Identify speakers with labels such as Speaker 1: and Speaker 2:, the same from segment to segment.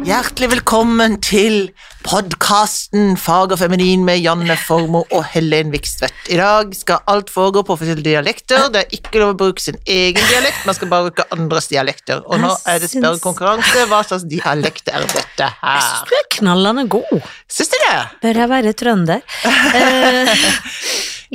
Speaker 1: Hjertelig velkommen til podkasten Fag og feminin med Janne Formoe og Helen Vikstvedt. I dag skal alt foregå på forskjellige dialekter. Det er ikke lov å bruke sin egen dialekt, man skal bare bruke andres dialekter. Og nå er det spørrekonkurranse. Hva slags dialekt er dette her?
Speaker 2: Du er knallende god.
Speaker 1: Syns du det?
Speaker 2: Bør jeg være trønder? Eh,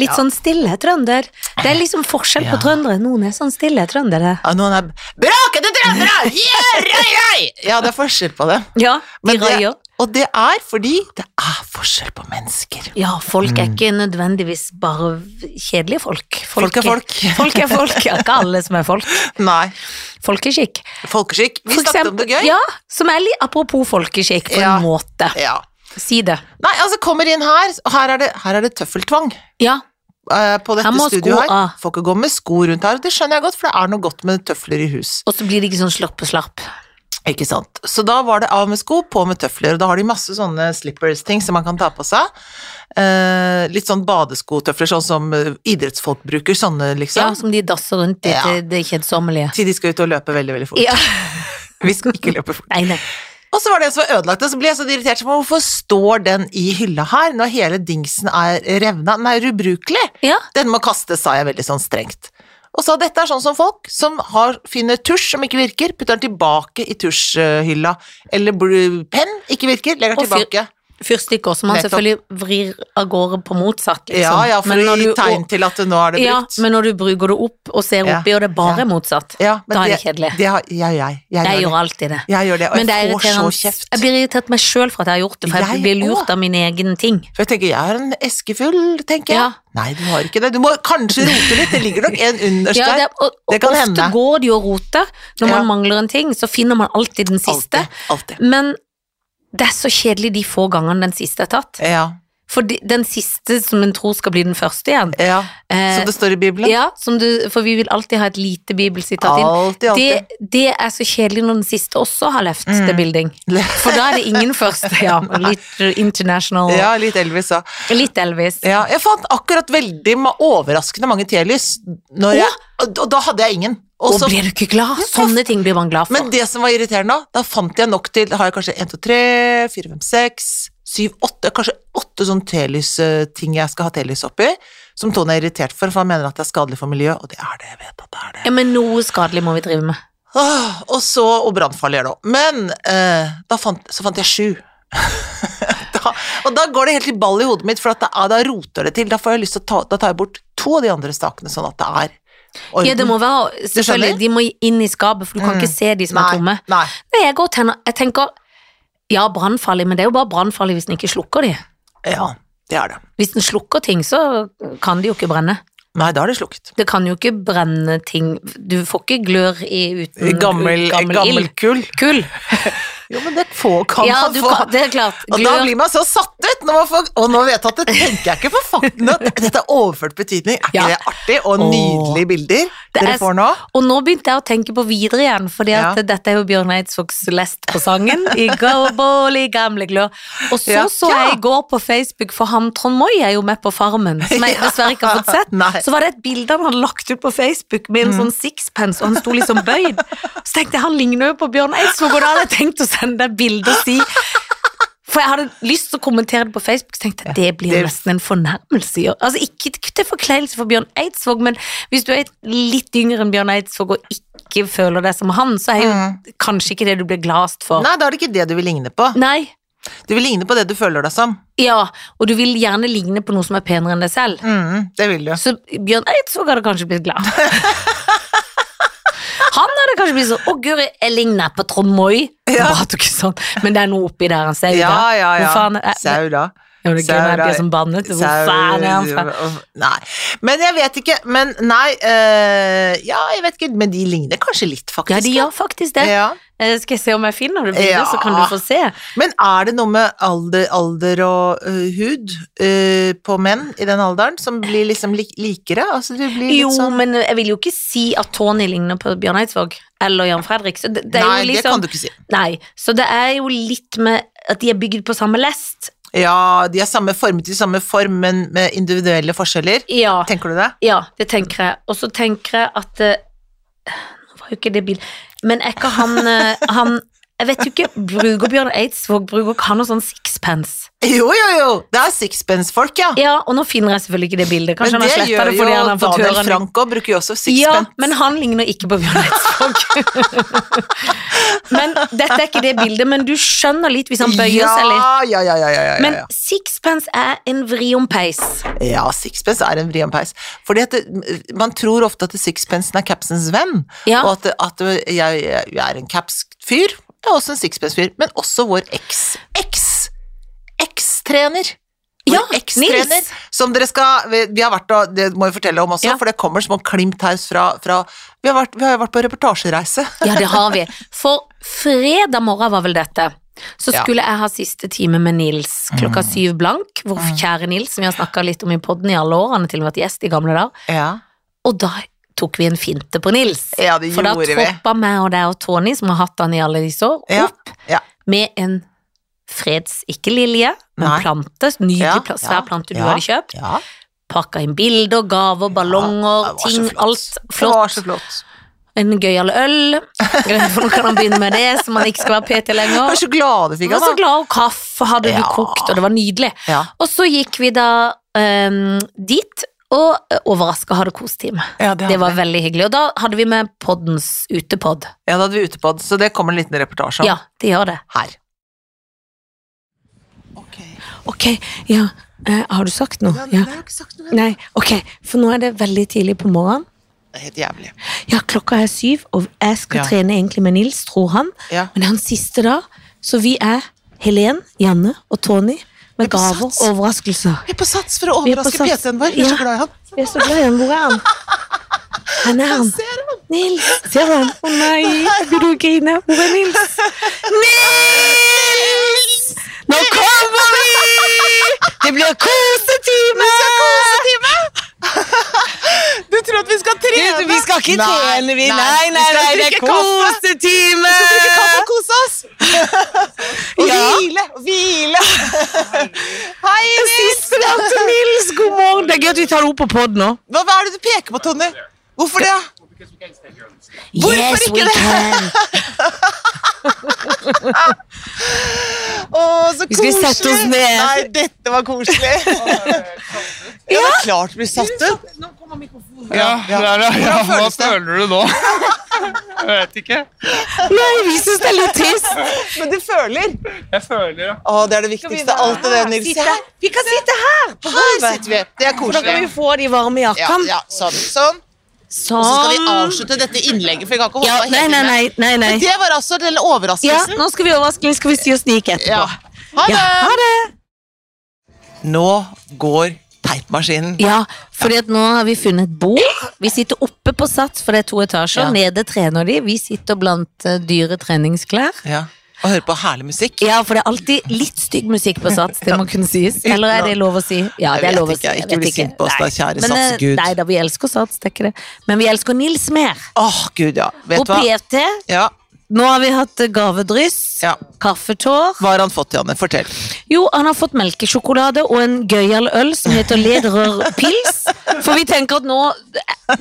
Speaker 2: litt sånn stille trønder. Det er liksom forskjell på
Speaker 1: Ja.
Speaker 2: trøndere. Noen er sånn stille trøndere.
Speaker 1: Ja, noen er brakete trøndere! Yeah, rei, rei! Ja, det er forskjell på det.
Speaker 2: Ja, de
Speaker 1: Men det,
Speaker 2: røyer.
Speaker 1: og det er fordi det er forskjell på mennesker.
Speaker 2: Ja, folk er ikke nødvendigvis bare kjedelige folk.
Speaker 1: Folk er folk.
Speaker 2: Folk er folk, ja. Ikke alle som er folk.
Speaker 1: Nei.
Speaker 2: Folkeskikk.
Speaker 1: Folkeskikk. Vi
Speaker 2: For
Speaker 1: snakket om det gøy.
Speaker 2: Ja, som er litt apropos folkeskikk på
Speaker 1: Ja.
Speaker 2: en måte.
Speaker 1: ja.
Speaker 2: Si det.
Speaker 1: Nei, altså kommer inn her, og her er det, her er det tøffeltvang.
Speaker 2: Ja,
Speaker 1: eh, På dette
Speaker 2: Her må
Speaker 1: studioet
Speaker 2: sko ah.
Speaker 1: her.
Speaker 2: av.
Speaker 1: Får ikke gå med sko rundt her, og det skjønner jeg godt, for det er noe godt med tøfler i hus.
Speaker 2: og så blir det ikke sånn slurpe-slurp.
Speaker 1: Ikke sant? Så da var det av med sko, på med tøfler, og da har de masse sånne slippers-ting som man kan ta på seg. Eh, litt sånn badeskotøfler, sånn som eh, idrettsfolk bruker, sånne
Speaker 2: Ja,
Speaker 1: liksom.
Speaker 2: som de dasser rundt i
Speaker 1: Ja.
Speaker 2: til det kjedsommelige.
Speaker 1: Til de skal ut og løpe veldig, veldig fort.
Speaker 2: Ja,
Speaker 1: Vi skal ikke løpe fort.
Speaker 2: nei, nei.
Speaker 1: Og så var det en som var ødelagt, og så ble jeg så irritert, for hvorfor står den i hylla her, når hele dingsen er revna? Den er ubrukelig.
Speaker 2: Ja,
Speaker 1: Den må kastes, sa jeg veldig sånn strengt. Og sa dette er sånn som folk som har, finner tusj som ikke virker, putter den tilbake i tusjhylla. Eller bl- penn ikke virker, legger den
Speaker 2: Og fyr- liksom.
Speaker 1: tilbake.
Speaker 2: fyrstikker som man
Speaker 1: Nettopp.
Speaker 2: selvfølgelig vrir av gårde på motsatt, liksom.
Speaker 1: Ja, ja, for
Speaker 2: Men
Speaker 1: å
Speaker 2: når
Speaker 1: gi
Speaker 2: du-
Speaker 1: tegn til at nå er det
Speaker 2: Ja,
Speaker 1: brukt.
Speaker 2: men når du bruker det opp og ser
Speaker 1: Ja,
Speaker 2: oppi, og det er bare
Speaker 1: ja.
Speaker 2: motsatt,
Speaker 1: Ja, men
Speaker 2: da er det kjedelig.
Speaker 1: Det har, ja, jeg, jeg,
Speaker 2: Jeg gjør
Speaker 1: gjør det.
Speaker 2: alltid det.
Speaker 1: Jeg gjør det, og
Speaker 2: Men det er
Speaker 1: jeg får så
Speaker 2: irriterende.
Speaker 1: kjeft.
Speaker 2: Jeg blir irritert meg sjøl for at jeg har gjort det, for jeg
Speaker 1: Jeg
Speaker 2: blir lurt av min egen ting.
Speaker 1: For jeg tenker, jeg er en eske full, tenker jeg.
Speaker 2: Ja.
Speaker 1: Nei, du har ikke det. Du må kanskje rote litt, det ligger nok en underst
Speaker 2: Ja, det,
Speaker 1: der.
Speaker 2: er- og, og
Speaker 1: Det kan
Speaker 2: ofte
Speaker 1: hende.
Speaker 2: går det jo å rote. Når
Speaker 1: Ja.
Speaker 2: man mangler en ting, så finner man alltid den siste.
Speaker 1: Alltid. Alltid.
Speaker 2: Men det er så kjedelig de få gangene den siste er tatt.
Speaker 1: Ja,
Speaker 2: For de, den siste som en tror skal bli den første igjen.
Speaker 1: ja.
Speaker 2: Eh,
Speaker 1: Som det står i Bibelen.
Speaker 2: ja, som du, for vi vil alltid ha et lite bibelsitat inn.
Speaker 1: Alltid, alltid. Mm.
Speaker 2: Det, det er så kjedelig når den siste også har left the building. For da er det ingen første, ja. Litt international.
Speaker 1: Ja, litt Elvis, ja.
Speaker 2: Litt Elvis.
Speaker 1: ja. Jeg fant akkurat veldig ma- overraskende mange telys, når jeg, og, og da hadde jeg ingen. Og
Speaker 2: Og
Speaker 1: så,
Speaker 2: blir du ikke glad? Sånne ting blir man glad for.
Speaker 1: men det som var irriterende da, da fant jeg nok til, da har jeg kanskje 1, 2, 3, 4, 5, 6, 7, 8, kanskje sånn 8 sånne telys-ting eh, jeg skal ha telys oppi, som Tone er irritert for, for han mener at det er skadelig for miljøet, og det er det, jeg vet at det er det.
Speaker 2: ja, men noe skadelig må vi drive med.
Speaker 1: Åh, og så, og brannfarlig er det også. Men eh, da fant, så fant jeg sju. da, og da går det helt i ball i hodet mitt, for at da, ah, da roter det til. Da, får jeg lyst til å ta, da tar jeg bort to av de andre stakene, sånn at det er orden.
Speaker 2: Ja, det må være, selvfølgelig,
Speaker 1: skjønner? Mm.
Speaker 2: De må inn i skapet, for du kan ikke se de som
Speaker 1: nei,
Speaker 2: er tomme.
Speaker 1: Nei.
Speaker 2: Nei, jeg, går og tenner, jeg tenker ja, brannfarlig, men det er jo bare brannfarlig hvis den ikke slukker de.
Speaker 1: Ja, det er det.
Speaker 2: Hvis den slukker ting, så kan de jo ikke brenne.
Speaker 1: Nei, da er det slukket.
Speaker 2: Det kan jo ikke brenne ting Du får ikke glør i uten
Speaker 1: Mm, Gammel,
Speaker 2: gammel
Speaker 1: gammel
Speaker 2: ild.
Speaker 1: kull.
Speaker 2: Kull.
Speaker 1: Jo, men det få kan
Speaker 2: Ja,
Speaker 1: man
Speaker 2: du
Speaker 1: få.
Speaker 2: kan, det er klart.
Speaker 1: Og da
Speaker 2: Glør
Speaker 1: blir man så satt ut, når man får, og nå vet jeg at det tenker jeg ikke for fakten. at Dette er overført betydning. Er ikke
Speaker 2: Ja.
Speaker 1: det artig? Og
Speaker 2: Åh.
Speaker 1: nydelige bilder
Speaker 2: Det
Speaker 1: dere
Speaker 2: er-
Speaker 1: får nå.
Speaker 2: Og nå begynte jeg å tenke på videre igjen, fordi at
Speaker 1: Ja.
Speaker 2: dette er jo Bjørn Eidsvågs lest på sangen. I går bål i gamle glør. Og så
Speaker 1: Ja.
Speaker 2: så
Speaker 1: Ja.
Speaker 2: jeg i går på Facebook, for han Trond Moi er jo med på Farmen, som jeg dessverre ikke har fått sett.
Speaker 1: Nei.
Speaker 2: Så var det et bilde han hadde lagt ut på Facebook med en
Speaker 1: Mm.
Speaker 2: sånn sixpence, og han sto liksom bøyd. Så tenkte jeg, han ligner jo på Bjørn Eidsvåg, og da hadde jeg tenkt å sende deg bilde og si for jeg hadde lyst til å kommentere det på Facebook, så tenkte jeg det blir
Speaker 1: det-
Speaker 2: nesten en fornærmelse. i år. Altså Ikke t- til forkleinelse for Bjørn Eidsvåg, men hvis du er litt yngre enn Bjørn Eidsvåg og ikke føler deg som han, så er jo kanskje ikke det du blir gladest for.
Speaker 1: Mm. Nei, da er det ikke det du vil ligne på.
Speaker 2: Nei.
Speaker 1: Du vil ligne på det du føler deg som.
Speaker 2: Ja, og du vil gjerne ligne på noe som er penere enn deg selv.
Speaker 1: Mm, det vil du.
Speaker 2: Så Bjørn Eidsvåg hadde kanskje blitt glad. Han hadde kanskje blitt sånn 'Å, guri, jeg ligner på Trond Moi'.
Speaker 1: Ja.
Speaker 2: Han prater jo ikke sånn, Men det er noe oppi der han ser ut
Speaker 1: Ja, ja, ja.
Speaker 2: Hvorfor han er,
Speaker 1: Sau, da.
Speaker 2: Ja, det er gøy når jeg blir sånn bannet. Hvor faen er han fra?
Speaker 1: Nei. Men jeg vet ikke. Men nei øh, Ja, jeg vet ikke. Men de ligner kanskje litt, faktisk.
Speaker 2: Ja, de gjør faktisk det.
Speaker 1: Ja.
Speaker 2: Eh, Skal jeg se om jeg finner det bildet,
Speaker 1: Ja.
Speaker 2: så kan du få se.
Speaker 1: Men er det noe med alder, alder og øh, hud øh, på menn i den alderen som blir liksom lik likere? Altså, det blir litt
Speaker 2: Jo,
Speaker 1: sånn
Speaker 2: men jeg vil jo ikke si at Tony ligner på Bjørn Eidsvåg eller Jan Fredrik. Så det, det er
Speaker 1: Nei, det
Speaker 2: jo liksom,
Speaker 1: kan du ikke si.
Speaker 2: Nei, så det er jo litt med at de er bygd på samme lest.
Speaker 1: Ja, de er samme formet i samme form, men med individuelle forskjeller.
Speaker 2: Ja,
Speaker 1: Tenker du det?
Speaker 2: ja det tenker jeg. Og så tenker jeg at eh, Nå var jo ikke det bildet Men er ikke han, eh, han Jeg vet jo ikke, bruker Bjørn Eidsvåg bruker ikke han noe sånn sixpence?
Speaker 1: Jo, jo, jo! Det er sixpence-folk, ja.
Speaker 2: Ja, og nå finner jeg selvfølgelig ikke det bildet. Kanskje
Speaker 1: Men
Speaker 2: han
Speaker 1: det
Speaker 2: har sletta
Speaker 1: gjør
Speaker 2: det
Speaker 1: jo
Speaker 2: fordi han har fått høre
Speaker 1: Daniel
Speaker 2: det.
Speaker 1: Franco, bruker jo også
Speaker 2: Ja,
Speaker 1: sixpence.
Speaker 2: men han ligner ikke på Bjørn Eidsvåg. men dette er ikke det bildet, men du skjønner litt hvis han bøyer
Speaker 1: ja,
Speaker 2: seg litt.
Speaker 1: Ja, ja, ja, ja, ja,
Speaker 2: Men
Speaker 1: ja.
Speaker 2: sixpence er en vri om peis.
Speaker 1: ja, sixpence er en vri om peis. Fordi at det, man tror ofte at sixpencen er capsens venn,
Speaker 2: Ja.
Speaker 1: og at, at jeg, jeg er en caps-fyr, jeg er også en sixpence-fyr, men også vår eks, eks, eks-trener. Vår
Speaker 2: Ja,
Speaker 1: ekstrener,
Speaker 2: Nils.
Speaker 1: Som dere skal, vi, vi har vært og, det må vi fortelle om også,
Speaker 2: Ja.
Speaker 1: for det kommer små klimt her fra, fra vi, har vært, vi har jo vært på reportasjereise.
Speaker 2: Ja, det har vi. For fredag morgen var vel dette. Så
Speaker 1: Ja. Mm.
Speaker 2: skulle jeg ha siste time med Nils klokka syv blank. Vår kjære Nils, som vi har snakka litt om i podden i alle år. Han har til og med vært gjest i gamle dager.
Speaker 1: Ja,
Speaker 2: Og da tok vi en finte på Nils.
Speaker 1: ja det
Speaker 2: For da
Speaker 1: gjorde vi.
Speaker 2: troppa meg og deg og Tony, som har hatt han i alle disse år,
Speaker 1: Ja,
Speaker 2: opp
Speaker 1: ja.
Speaker 2: med en freds, ikke lilje, men
Speaker 1: Nei.
Speaker 2: plante. Nydelig,
Speaker 1: Ja,
Speaker 2: pla-
Speaker 1: ja,
Speaker 2: svær plante du
Speaker 1: ja.
Speaker 2: hadde kjøpt.
Speaker 1: Ja,
Speaker 2: Pakka inn bilder, gaver, ballonger,
Speaker 1: det var så
Speaker 2: ting,
Speaker 1: flott.
Speaker 2: alt
Speaker 1: det var så
Speaker 2: flott.
Speaker 1: flott.
Speaker 2: En gøyal øl. For nå kan han begynne med det, så man ikke skal være PT
Speaker 1: Jeg
Speaker 2: lenger.
Speaker 1: var så glad du
Speaker 2: Jeg
Speaker 1: fikk
Speaker 2: var så
Speaker 1: av da.
Speaker 2: glad, og kaffe hadde du
Speaker 1: Ja.
Speaker 2: kokt, og det var nydelig.
Speaker 1: Ja.
Speaker 2: Og så gikk vi da ehm, dit, og overraska hadde kostime.
Speaker 1: Ja,
Speaker 2: Det var veldig hyggelig. Og da hadde vi med poddens utepod.
Speaker 1: ja, da hadde vi utepod, så det kommer en liten reportasje om
Speaker 2: Ja, det gjør det.
Speaker 1: her.
Speaker 2: Ok, ja. Eh, har du sagt noe? Ja.
Speaker 1: jo ikke sagt noe.
Speaker 2: Nei, ok, for nå er det veldig tidlig på morgenen.
Speaker 1: Det er helt jævlig.
Speaker 2: Ja, klokka er syv, og jeg skal
Speaker 1: Ja.
Speaker 2: trene egentlig med Nils, tror han.
Speaker 1: Ja.
Speaker 2: Men det er hans siste da, så vi er Helen, Janne og Tony med
Speaker 1: Vi er på
Speaker 2: gaver
Speaker 1: sats.
Speaker 2: og overraskelser.
Speaker 1: Vi er på sats for å
Speaker 2: Vi er på
Speaker 1: overraske
Speaker 2: sats.
Speaker 1: PT-en vår. Vi er
Speaker 2: Ja.
Speaker 1: så glad i han.
Speaker 2: Vi er så glad i ham. Hvor er han? Han er han.
Speaker 1: Ser han?
Speaker 2: Nils, ser du han? Å nei, jeg begynner å grine. Hvor er Nils?
Speaker 1: Nils!
Speaker 2: Nå kommer vi! Det blir kosetime!
Speaker 1: Du tror at vi skal trene?
Speaker 2: Vi skal ikke trene, vi. Nei, nei, nei, det er
Speaker 1: kos!
Speaker 2: kosetime!
Speaker 1: Vi skal drikke kaffe og kose oss. Og
Speaker 2: Ja.
Speaker 1: hvile. og Hvile. Hei, Nils.
Speaker 2: Siste dag til Nils, god morgen! Det er gøy at vi tar det opp på pod nå.
Speaker 1: Hva, hva er det du peker på, Tonje? Hvorfor det? Hvorfor
Speaker 2: Yes,
Speaker 1: ikke
Speaker 2: we
Speaker 1: det?
Speaker 2: can!
Speaker 1: Å, så
Speaker 2: Vi skal
Speaker 1: koselig.
Speaker 2: sette oss ned.
Speaker 1: Nei, dette var koselig. Ja, det er klart du blir satt ut.
Speaker 3: Ja,
Speaker 1: Ja,
Speaker 3: der, ja, ja.
Speaker 1: Hvordan
Speaker 3: Hva
Speaker 1: føles det?
Speaker 3: føler du nå? Jeg vet ikke.
Speaker 2: Nei, vi syns det er litt trist.
Speaker 1: Men du føler.
Speaker 3: Jeg føler ja.
Speaker 1: Å, det er det viktigste. Alt det der, Nils. Se her.
Speaker 2: Vi kan sitte her! på
Speaker 1: Her
Speaker 2: gulvet.
Speaker 1: sitter vi. Det er
Speaker 2: For da kan vi
Speaker 1: koselig.
Speaker 2: få de varme
Speaker 1: Ja,
Speaker 2: jakkene.
Speaker 1: ja, sånn. sånn. Og så skal vi
Speaker 2: Sånn.
Speaker 1: avslutte dette innlegget, for vi kan ikke
Speaker 2: Ja,
Speaker 1: holde på
Speaker 2: nei,
Speaker 1: hele
Speaker 2: nei,
Speaker 1: tiden.
Speaker 2: nei. nei, nei.
Speaker 1: Det var altså den
Speaker 2: Ja,
Speaker 1: overraskelsen.
Speaker 2: nå skal vi overraske, skal vi si oss
Speaker 1: Ja.
Speaker 2: like etterpå.
Speaker 1: Ha
Speaker 2: Ja, ha
Speaker 1: det!
Speaker 2: det!
Speaker 1: Nå går teipmaskinen.
Speaker 2: Ja, fordi at nå har vi funnet et bord. Vi sitter oppe på Sats, for det er to etasjer.
Speaker 1: Ja.
Speaker 2: Nede trener de. Vi sitter blant eh, dyre treningsklær.
Speaker 1: Ja. Og hører på herlig musikk.
Speaker 2: Ja, for det er alltid litt stygg musikk på Sats, det må kunne sies. Eller er det lov å si? Ja,
Speaker 1: Jeg
Speaker 2: det er
Speaker 1: vet
Speaker 2: lov å
Speaker 1: ikke,
Speaker 2: si.
Speaker 1: ikke bli sint på oss da, kjære Sats, Gud.
Speaker 2: Gud eh, Nei da, vi elsker Sats, det er ikke det. Men vi elsker Nils mer.
Speaker 1: Åh, gud, ja. Vet
Speaker 2: Og
Speaker 1: du hva?
Speaker 2: PT.
Speaker 1: Ja.
Speaker 2: Nå har vi hatt eh, gavedryss,
Speaker 1: Ja.
Speaker 2: kaffetår.
Speaker 1: Hva har han fått, Janne? Fortell.
Speaker 2: Jo, han har fått melkesjokolade og en gøyal øl som heter Lederør Pils. For vi tenker at nå,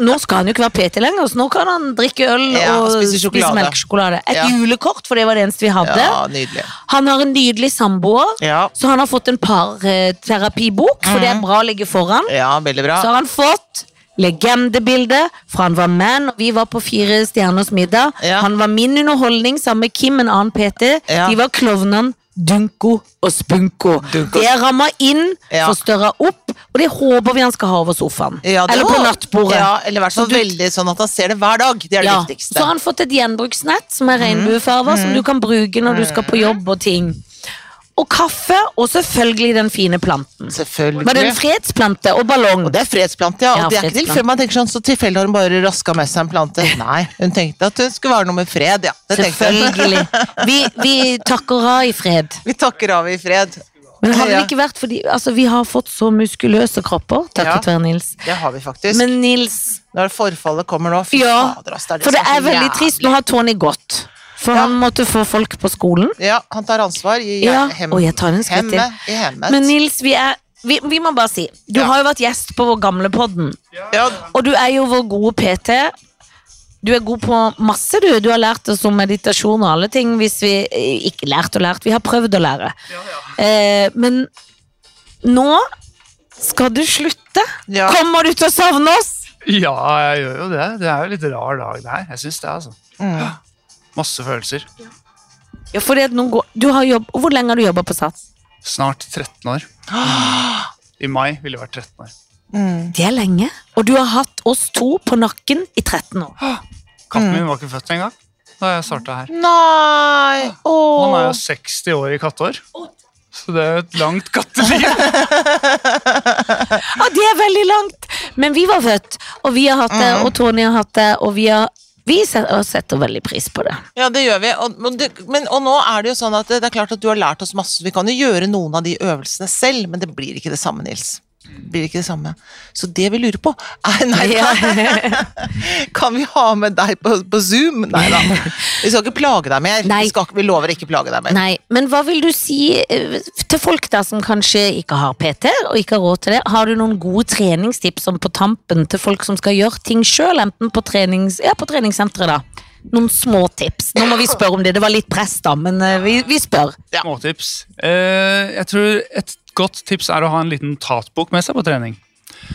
Speaker 2: nå skal han jo ikke være PT lenger, så nå kan han drikke øl
Speaker 1: Ja,
Speaker 2: og
Speaker 1: og spise
Speaker 2: spise,
Speaker 1: sjokolade.
Speaker 2: melkesjokolade. Et
Speaker 1: Ja.
Speaker 2: julekort, for det var det eneste vi hadde.
Speaker 1: Ja, nydelig.
Speaker 2: Han har en nydelig samboer,
Speaker 1: Ja. Mhm.
Speaker 2: så han har fått en parterapibok, for det er bra å ligge foran.
Speaker 1: Ja, veldig bra.
Speaker 2: Så har han fått legendebildet fra han var man, og vi var på Fire stjerners middag.
Speaker 1: Ja.
Speaker 2: Han var min underholdning sammen med Kim, en annen PT.
Speaker 1: Ja.
Speaker 2: De var klovnene Dunko og Spunko.
Speaker 1: Dunko.
Speaker 2: Det ramma inn,
Speaker 1: Ja.
Speaker 2: forstørra opp, og det håper vi han skal ha over sofaen.
Speaker 1: Ja, det
Speaker 2: eller på
Speaker 1: var-
Speaker 2: nattbordet.
Speaker 1: Ja, eller i hvert fall veldig sånn at han ser det hver dag. Det er det
Speaker 2: Ja.
Speaker 1: viktigste. Mhm.
Speaker 2: Så har han fått et gjenbruksnett som er regnbuefarver, som du kan bruke når du skal på jobb og ting. Og kaffe, og selvfølgelig den fine planten.
Speaker 1: Selvfølgelig.
Speaker 2: Var det en fredsplante og ballong?
Speaker 1: Og det er fredsplante, ja. Og
Speaker 2: Ja,
Speaker 1: det er ikke
Speaker 2: fredsplante.
Speaker 1: tilfeldig man tenker sånn, så tilfeldig har hun bare raska med seg en plante. Nei, hun tenkte at hun skulle være noe med fred, ja. Det tenkte hun.
Speaker 2: Selvfølgelig. Vi, vi takker av i fred.
Speaker 1: Vi takker av i fred.
Speaker 2: Men hadde det
Speaker 1: Ja.
Speaker 2: ikke vært fordi altså, Vi har fått så muskuløse kropper, takket
Speaker 1: Ja.
Speaker 2: være Nils.
Speaker 1: Det har vi faktisk.
Speaker 2: Men Nils
Speaker 1: Når forfallet kommer nå, fy
Speaker 2: Ja,
Speaker 1: fader, ass. Det er det
Speaker 2: for det
Speaker 1: som
Speaker 2: er veldig
Speaker 1: jævlig.
Speaker 2: trist. Nå har Tony gått. For
Speaker 1: Ja.
Speaker 2: han måtte få folk på skolen.
Speaker 1: Ja, han tar ansvar i
Speaker 2: Ja,
Speaker 1: hem-
Speaker 2: og jeg tar en skritt til.
Speaker 1: hemmet- I hemmet.
Speaker 2: Men Nils, vi er vi, vi må bare si, du
Speaker 1: Ja.
Speaker 2: har jo vært gjest på vår gamle podden.
Speaker 1: ja,
Speaker 2: Og du er jo vår gode PT. Du er god på masse, du. Du har lært oss om meditasjon og alle ting. Hvis vi eh, ikke lært og lært, vi har prøvd å lære.
Speaker 3: Ja, ja.
Speaker 2: Eh, men nå skal du slutte.
Speaker 1: Ja.
Speaker 2: Kommer du til å savne oss?
Speaker 4: Ja, jeg gjør jo det. Det er jo litt rar dag, det her. Jeg syns det, altså.
Speaker 1: Mm.
Speaker 4: Masse følelser.
Speaker 2: Ja, fordi at nå går, du har jobb, Hvor lenge har du jobba på Sats?
Speaker 4: Snart 13 år. I mai ville jeg vært 13 år.
Speaker 1: Mm.
Speaker 2: Det er lenge. Og du har hatt oss to på nakken i 13 år.
Speaker 4: Katten
Speaker 1: Mm.
Speaker 4: min var ikke født engang da jeg starta her.
Speaker 1: Nei!
Speaker 4: Han
Speaker 1: Åh.
Speaker 4: er jo 60 år i katteår. Så det er jo et langt katteliv.
Speaker 2: Ja, det er veldig langt! Men vi var født, og vi har hatt det,
Speaker 1: Mhm.
Speaker 2: og Tony har hatt det, og vi har vi set- og setter veldig pris på det.
Speaker 1: Ja, det gjør vi. Og, men det, men, og nå er det jo sånn at det, det er klart at du har lært oss masse. Vi kan jo gjøre noen av de øvelsene selv, men det blir ikke det samme, Nils. Det blir ikke det samme. Så det vi lurer på er, Nei da, kan vi ha med deg på, på Zoom? Nei da. Vi skal ikke plage deg mer.
Speaker 2: Nei.
Speaker 1: Vi, skal, ikke- vi lover å ikke plage deg mer.
Speaker 2: Nei, men hva vil du si eh, til folk der som kanskje ikke har PT og ikke har råd til det? Har du noen gode treningstips som på tampen til folk som skal gjøre ting sjøl, enten på, trenings, ja, på treningssenteret, da? Noen små tips. Nå må vi spørre om det. Det var litt press, da, men eh, vi, vi spør.
Speaker 1: Ja.
Speaker 4: Småtips. Eh, jeg tror et godt tips er å ha en liten tatbok med seg på trening.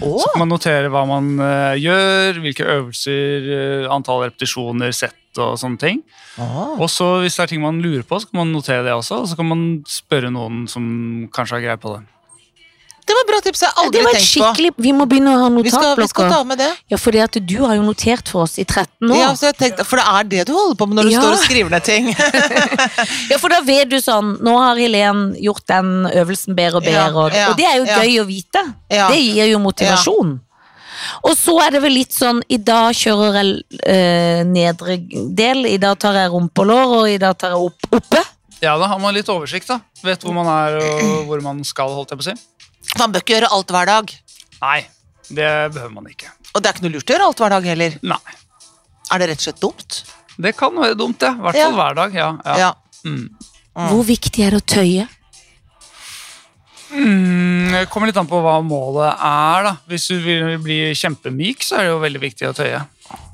Speaker 1: Åh.
Speaker 4: Så kan man notere hva man eh, gjør, hvilke øvelser, eh, antall repetisjoner, sett og sånne ting.
Speaker 1: Åh.
Speaker 4: Og så Hvis det er ting man lurer på, så kan man notere det også. Og så kan man spørre noen som kanskje har greie på det.
Speaker 1: Det var bra tips. Jeg har
Speaker 2: Det
Speaker 1: aldri
Speaker 2: var et
Speaker 1: tenkt på.
Speaker 2: skikkelig Vi må begynne å ha
Speaker 1: Vi skal, vi skal ta
Speaker 2: notatblokker.
Speaker 1: med det.
Speaker 2: Ja, fordi at du har jo notert for oss i 13 år.
Speaker 1: Ja, så jeg tenkte, for det er det du holder på med når du
Speaker 2: Ja.
Speaker 1: står og skriver ned ting.
Speaker 2: Ja, for da vet du sånn Nå har Helen gjort den øvelsen bedre og bedre,
Speaker 1: Ja,
Speaker 2: og,
Speaker 1: ja,
Speaker 2: og det er jo
Speaker 1: ja.
Speaker 2: gøy å vite.
Speaker 1: Ja.
Speaker 2: Det gir jo motivasjon. Og så er det vel litt sånn I dag kjører jeg eh, nedre del, i dag tar jeg rumpe og lår, og i dag tar jeg opp, oppe.
Speaker 4: Ja, Da har man litt oversikt. da. Vet hvor man er og hvor man skal. holdt jeg på å si.
Speaker 1: Man bør ikke gjøre alt hver dag.
Speaker 4: Nei, det behøver man ikke.
Speaker 1: Og det er ikke noe lurt å gjøre alt hver dag heller.
Speaker 4: Nei.
Speaker 1: Er det rett og slett dumt?
Speaker 4: Det kan være dumt, det. I hvert
Speaker 1: Ja.
Speaker 4: fall hver dag. ja. ja.
Speaker 1: Ja.
Speaker 4: Mm.
Speaker 2: Hvor viktig er det å tøye?
Speaker 4: Mm, det kommer litt an på hva målet er. da. Hvis du vil bli kjempemyk, så er det jo veldig viktig å tøye.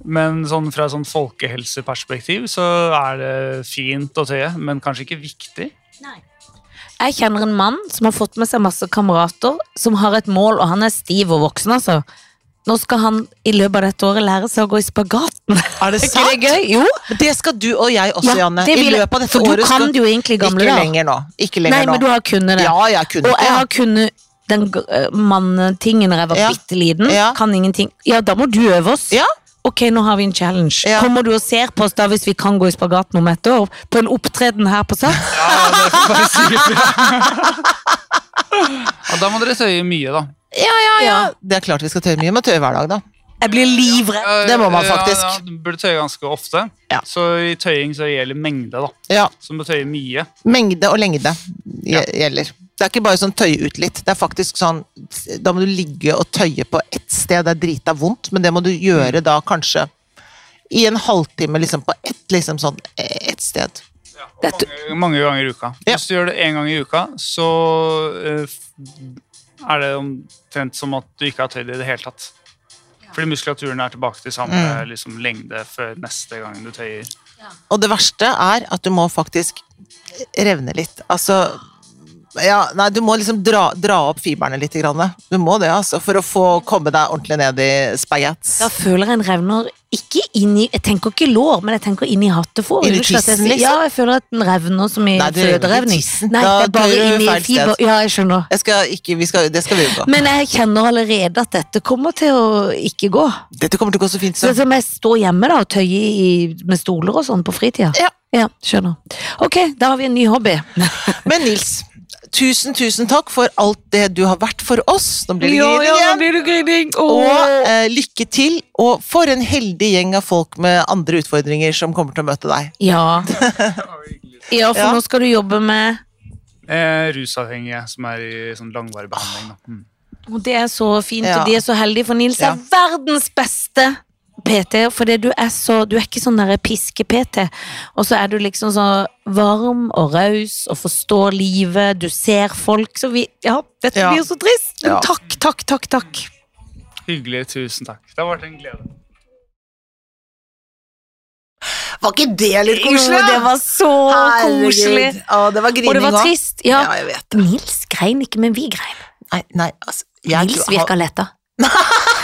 Speaker 4: Men sånn, fra et sånn folkehelseperspektiv så er det fint å tøye, men kanskje ikke viktig.
Speaker 2: Jeg kjenner en mann som har fått med seg masse kamerater, som har et mål, og han er stiv og voksen, altså. Nå skal han i løpet av dette året lære seg å gå i spagaten.
Speaker 1: Er det
Speaker 2: Er ikke
Speaker 1: sant?
Speaker 2: det gøy? Jo.
Speaker 1: Det skal du og jeg også,
Speaker 2: Ja,
Speaker 1: Janne.
Speaker 2: det
Speaker 1: I
Speaker 2: vil jeg.
Speaker 1: løpet av dette
Speaker 2: For du
Speaker 1: året
Speaker 2: kan
Speaker 1: skal
Speaker 2: det jo egentlig i gamle
Speaker 1: Ikke
Speaker 2: dager.
Speaker 1: lenger nå. Ikke lenger
Speaker 2: Nei,
Speaker 1: nå.
Speaker 2: men du har kunnet det.
Speaker 1: Ja, jeg kunne
Speaker 2: og jeg har
Speaker 1: ikke.
Speaker 2: kunnet den g- eh, manntingen da jeg var
Speaker 1: Ja.
Speaker 2: bitte liten.
Speaker 1: Ja.
Speaker 2: Kan ingenting. Ja, da må du øve oss.
Speaker 1: Ja.
Speaker 2: Ok, nå har vi en challenge.
Speaker 1: Ja.
Speaker 2: Kommer du og ser på oss da hvis vi kan gå i spagaten om et år? På en opptreden her på Sats?
Speaker 4: Ja, det får bare si ja, da må dere tøye mye, da.
Speaker 1: Ja, ja, ja.
Speaker 2: Ja.
Speaker 1: Det er klart vi skal tøye mye, men tøye hver dag, da.
Speaker 2: Jeg blir livredd.
Speaker 4: Ja,
Speaker 1: Det må man
Speaker 4: ja,
Speaker 1: faktisk.
Speaker 4: Ja, du burde tøye ganske ofte.
Speaker 1: Ja.
Speaker 4: Så i tøying så gjelder mengde, da.
Speaker 1: Ja.
Speaker 4: Så du må tøye mye.
Speaker 1: Mengde og lengde gje- gjelder. Det er ikke bare sånn tøye ut litt. Det er faktisk sånn Da må du ligge og tøye på ett sted. Det er drita vondt, men det må du gjøre da kanskje i en halvtime, liksom, på ett, liksom sånn, eh, ett sted.
Speaker 2: Dette-
Speaker 4: mange, mange ganger i uka.
Speaker 1: Ja.
Speaker 4: Hvis du gjør det én gang i uka, så eh, f- er det omtrent som at du ikke har tøyd i det hele tatt. Fordi muskulaturen er tilbake til samme liksom, lengde før neste gang du tøyer.
Speaker 1: Og det verste er at du må faktisk revne litt. Altså ja, nei, Du må liksom dra, dra opp fiberne litt. Grann. Du må det, altså, for å få komme deg ordentlig ned i spagats.
Speaker 2: Da føler jeg en revner ikke inn i Jeg tenker ikke lår, men jeg tenker inn i hattefår.
Speaker 1: Inn i
Speaker 2: Unnskyld at jeg
Speaker 1: tissen,
Speaker 2: sier-
Speaker 1: liksom?
Speaker 2: Ja, jeg føler at den revner som i
Speaker 1: Nei, det gjør ikke
Speaker 2: føderevning.
Speaker 1: tissen.
Speaker 2: Nei,
Speaker 1: Da
Speaker 2: det er bare
Speaker 1: tøyer du
Speaker 2: inni
Speaker 1: feil sted.
Speaker 2: fiber. Ja, jeg skjønner.
Speaker 1: Jeg skal ikke, vi skal, det skal vi unngå.
Speaker 2: Men jeg kjenner allerede at dette kommer til å ikke gå.
Speaker 1: Dette kommer til å gå så fint
Speaker 2: Så
Speaker 1: som
Speaker 2: som jeg står hjemme da og tøyer i, med stoler og sånn på fritida.
Speaker 1: Ja.
Speaker 2: skjønner. Ok, da har vi en ny hobby.
Speaker 1: Men Nils, tusen, tusen takk for alt det du har vært for oss. Nå blir det giring igjen.
Speaker 2: blir det grining.
Speaker 1: Og eh, lykke til, og for en heldig gjeng av folk med andre utfordringer som kommer til å møte deg.
Speaker 2: Ja. ja, for
Speaker 1: Ja.
Speaker 2: nå skal du jobbe med
Speaker 4: Eh, rusavhengige som er i sånn langvarig behandling. Da. Mm.
Speaker 2: Og det er så fint,
Speaker 1: Ja.
Speaker 2: og de er så heldige, for Nils
Speaker 1: Ja.
Speaker 2: er verdens beste PT. For du er så Du er ikke sånn derre piske-PT, og så er du liksom så varm og raus og forstår livet, du ser folk, så vi Ja, dette
Speaker 1: Ja.
Speaker 2: blir jo så trist. Men
Speaker 1: Ja.
Speaker 2: takk, takk, takk, takk.
Speaker 4: Hyggelig. Tusen takk. Det har vært en glede.
Speaker 1: Var ikke det litt koselig?
Speaker 2: Jo,
Speaker 1: da?
Speaker 2: det var så
Speaker 1: Herregud.
Speaker 2: koselig.
Speaker 1: Å, det var grining
Speaker 2: Og det var
Speaker 1: også.
Speaker 2: trist. Ja.
Speaker 1: Ja, jeg vet
Speaker 2: Nils grein ikke, men vi grein.
Speaker 1: Nei, nei altså jeg,
Speaker 2: Nils virka letta.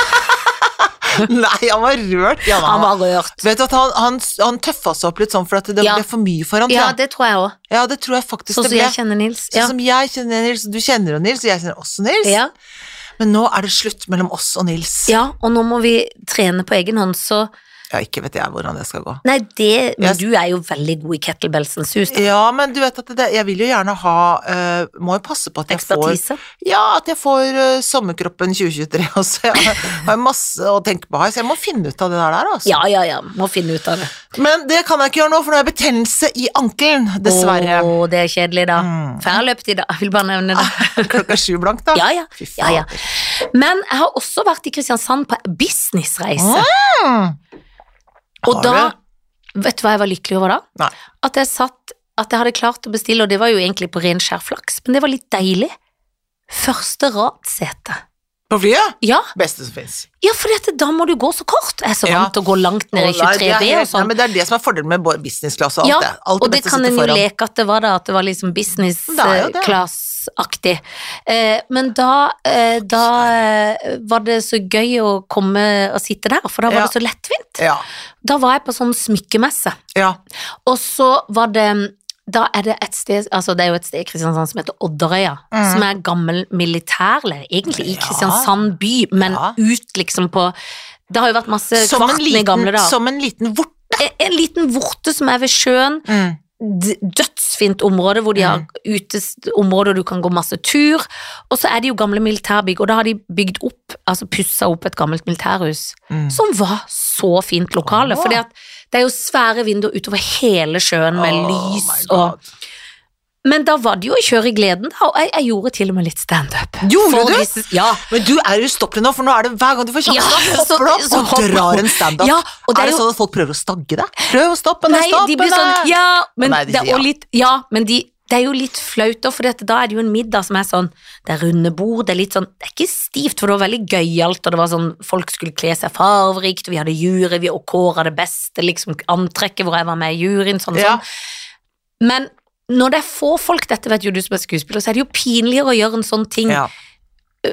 Speaker 1: Nei, han var rørt. Ja,
Speaker 2: Han var rørt.
Speaker 1: Vet du at han, han, han tøffa seg opp litt sånn, for at det
Speaker 2: Ja.
Speaker 1: ble for mye for han.
Speaker 2: Ja,
Speaker 1: tror jeg.
Speaker 2: det tror jeg òg.
Speaker 1: ja, det tror jeg faktisk
Speaker 2: Sånn
Speaker 1: det
Speaker 2: som
Speaker 1: ble.
Speaker 2: jeg kjenner Nils.
Speaker 1: Sånn
Speaker 2: Ja.
Speaker 1: som jeg kjenner Nils, du kjenner jo Nils, og jeg kjenner også Nils.
Speaker 2: Ja.
Speaker 1: Men nå er det slutt mellom oss og Nils.
Speaker 2: ja, og nå må vi trene på egen hånd, så
Speaker 1: Ja, ikke vet jeg hvordan det skal gå.
Speaker 2: Nei, det Men
Speaker 1: Jeg-
Speaker 2: du er jo veldig god i kettlebellsens hus. da.
Speaker 1: Ja, men du vet at det, jeg vil jo gjerne ha eh, Må jo passe på at jeg får
Speaker 2: Ekspertise.
Speaker 1: Ja, at jeg får eh, sommerkroppen 2023 også. Jeg har masse å tenke på her, så jeg må finne ut av det der, der, altså.
Speaker 2: Ja, ja, ja. Må finne ut av det.
Speaker 1: Men det kan jeg ikke gjøre nå, for nå har jeg betennelse i ankelen, dessverre. Mm.
Speaker 2: Å, det er kjedelig, da. For jeg har løpt i dag. Jeg vil bare nevne det.
Speaker 1: Klokka er sju blank, da.
Speaker 2: Ja, ja.
Speaker 1: Fy faen.
Speaker 2: ja, ja. Men jeg har også vært i Kristiansand på businessreise. Og
Speaker 1: Mm. Har
Speaker 2: da
Speaker 1: du?
Speaker 2: Vet du hva jeg var lykkelig over da?
Speaker 1: Nei.
Speaker 2: At jeg satt At jeg hadde klart å bestille, og det var jo egentlig på ren skjær flaks, men det var litt deilig. Første radsete.
Speaker 1: På flyet?
Speaker 2: Ja,
Speaker 1: Beste som fins.
Speaker 2: ja for da må du gå så kort. Jeg er så
Speaker 1: Ja.
Speaker 2: vant til å gå langt ned i
Speaker 1: Å, nei, det er
Speaker 2: 23B og
Speaker 1: helt- nei,
Speaker 2: sånn.
Speaker 1: men Det er det som er fordelen med både businessklasse og alt
Speaker 2: Ja,
Speaker 1: det. Alt
Speaker 2: og det
Speaker 1: dette
Speaker 2: kan
Speaker 1: sitter
Speaker 2: en jo
Speaker 1: foran.
Speaker 2: leke at det var da, at det var liksom business
Speaker 1: Det er jo
Speaker 2: eh,
Speaker 1: det.
Speaker 2: class-aktig. Eh, men da, eh, da eh, var det så gøy å komme og sitte der, for da var
Speaker 1: Ja.
Speaker 2: det så lettvint.
Speaker 1: Ja.
Speaker 2: Da var jeg på sånn smykkemesse,
Speaker 1: ja.
Speaker 2: og så var det da er det et sted, altså det er jo et sted i Kristiansand som heter Odderøya,
Speaker 1: Mhm.
Speaker 2: som er gammel militærleir, egentlig i
Speaker 1: Ja.
Speaker 2: Kristiansand by, men
Speaker 1: Ja.
Speaker 2: ut liksom på, det har jo vært masse
Speaker 1: Som, en
Speaker 2: kvarten i gamle
Speaker 1: liten,
Speaker 2: dager.
Speaker 1: som en liten vort.
Speaker 2: En, en liten vorte som er ved sjøen,
Speaker 1: Mm.
Speaker 2: d- dødsfint område hvor de har utesområder du kan gå masse tur. Og så er det jo gamle militærbygg, og da har de bygd opp, altså pussa opp et gammelt militærhus.
Speaker 1: Mm.
Speaker 2: Som var så fint lokale,
Speaker 1: Åh.
Speaker 2: for det er jo svære vinduer utover hele sjøen med
Speaker 1: Oh my
Speaker 2: lys
Speaker 1: God.
Speaker 2: og Men da var det jo å kjøre i gleden, da, og jeg, jeg gjorde til og med litt standup.
Speaker 1: Gjorde
Speaker 2: For
Speaker 1: du?
Speaker 2: disse- Ja.
Speaker 1: Men du er ustoppelig nå, for nå er det hver gang du får sjansen,
Speaker 2: Ja,
Speaker 1: da
Speaker 2: så-
Speaker 1: hopper du opp
Speaker 2: så
Speaker 1: og
Speaker 2: hopper-
Speaker 1: drar en standup.
Speaker 2: Ja, og det
Speaker 1: er,
Speaker 2: er
Speaker 1: det
Speaker 2: jo-
Speaker 1: sånn at folk prøver å stagge deg? Prøv å stoppe deg,
Speaker 2: Nei, de
Speaker 1: stoppe
Speaker 2: blir sånn
Speaker 1: deg!
Speaker 2: Ja, men
Speaker 1: Nei, de
Speaker 2: det
Speaker 1: sier
Speaker 2: er
Speaker 1: ja.
Speaker 2: jo litt Ja, men de det er jo litt flaut, da, for da er det jo en middag som er sånn Det er runde bord, det er litt sånn Det er ikke stivt, for det var veldig gøyalt, og det var sånn Folk skulle kle seg farverikt, og vi hadde jury, vi og kåra det beste liksom antrekket hvor jeg var med i juryen, sånn og
Speaker 1: Ja.
Speaker 2: sånn. Men når det er få folk, dette vet jo du som er skuespiller, så er det jo pinligere å gjøre en sånn ting.
Speaker 1: Ja.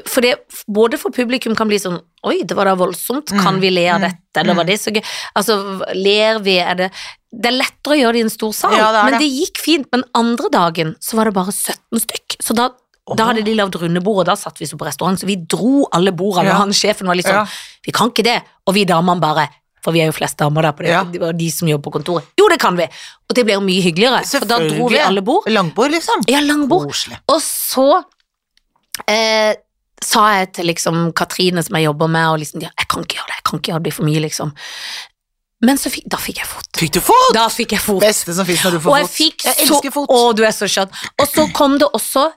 Speaker 2: For det, både for publikum kan bli sånn Oi, det var da voldsomt.
Speaker 1: Mm,
Speaker 2: Kan vi le av dette? Eller var det så gøy? Altså, ler vi? Er det Det er lettere å gjøre det i en stor sal,
Speaker 1: Ja, det er
Speaker 2: men
Speaker 1: det.
Speaker 2: det gikk fint. Men andre dagen så var det bare 17 stykk. Så da, da hadde de lagd runde bord, og da satt vi så på restaurant, så vi dro alle bordene.
Speaker 1: Ja.
Speaker 2: Og han sjefen var litt sånn
Speaker 1: Ja.
Speaker 2: Vi kan ikke det. Og vi damene bare For vi er jo flest damer der, på det.
Speaker 1: Ja.
Speaker 2: det var de som jobber på kontoret. Jo, det kan vi! Og det ble jo mye hyggeligere, for da dro vi
Speaker 1: Selvfølgelig.
Speaker 2: alle bord.
Speaker 1: Langbord, liksom.
Speaker 2: Ja, langbord.
Speaker 1: Koselig.
Speaker 2: Og så eh, sa jeg til liksom Katrine, som jeg jobber med, og liksom, ja, jeg kan ikke gjøre det, jeg kan ikke gjøre det, det blir for mye, liksom. Men så fikk, da fikk jeg fot.
Speaker 1: Fikk du fot?
Speaker 2: Da fikk jeg fot.
Speaker 1: Beste som fins når du får
Speaker 2: Og
Speaker 1: fot.
Speaker 2: jeg fikk
Speaker 1: jeg
Speaker 2: så
Speaker 1: elsker fot.
Speaker 2: Å, du er så skjønn. Og så kom det også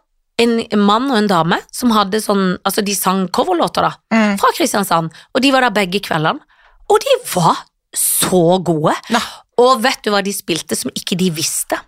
Speaker 2: en mann og en dame som hadde sånn Altså, de sang coverlåter, da,
Speaker 1: Mm.
Speaker 2: fra Kristiansand, og de var der begge kveldene, og de var så gode.
Speaker 1: Nei.
Speaker 2: Og vet du hva de spilte som ikke de visste?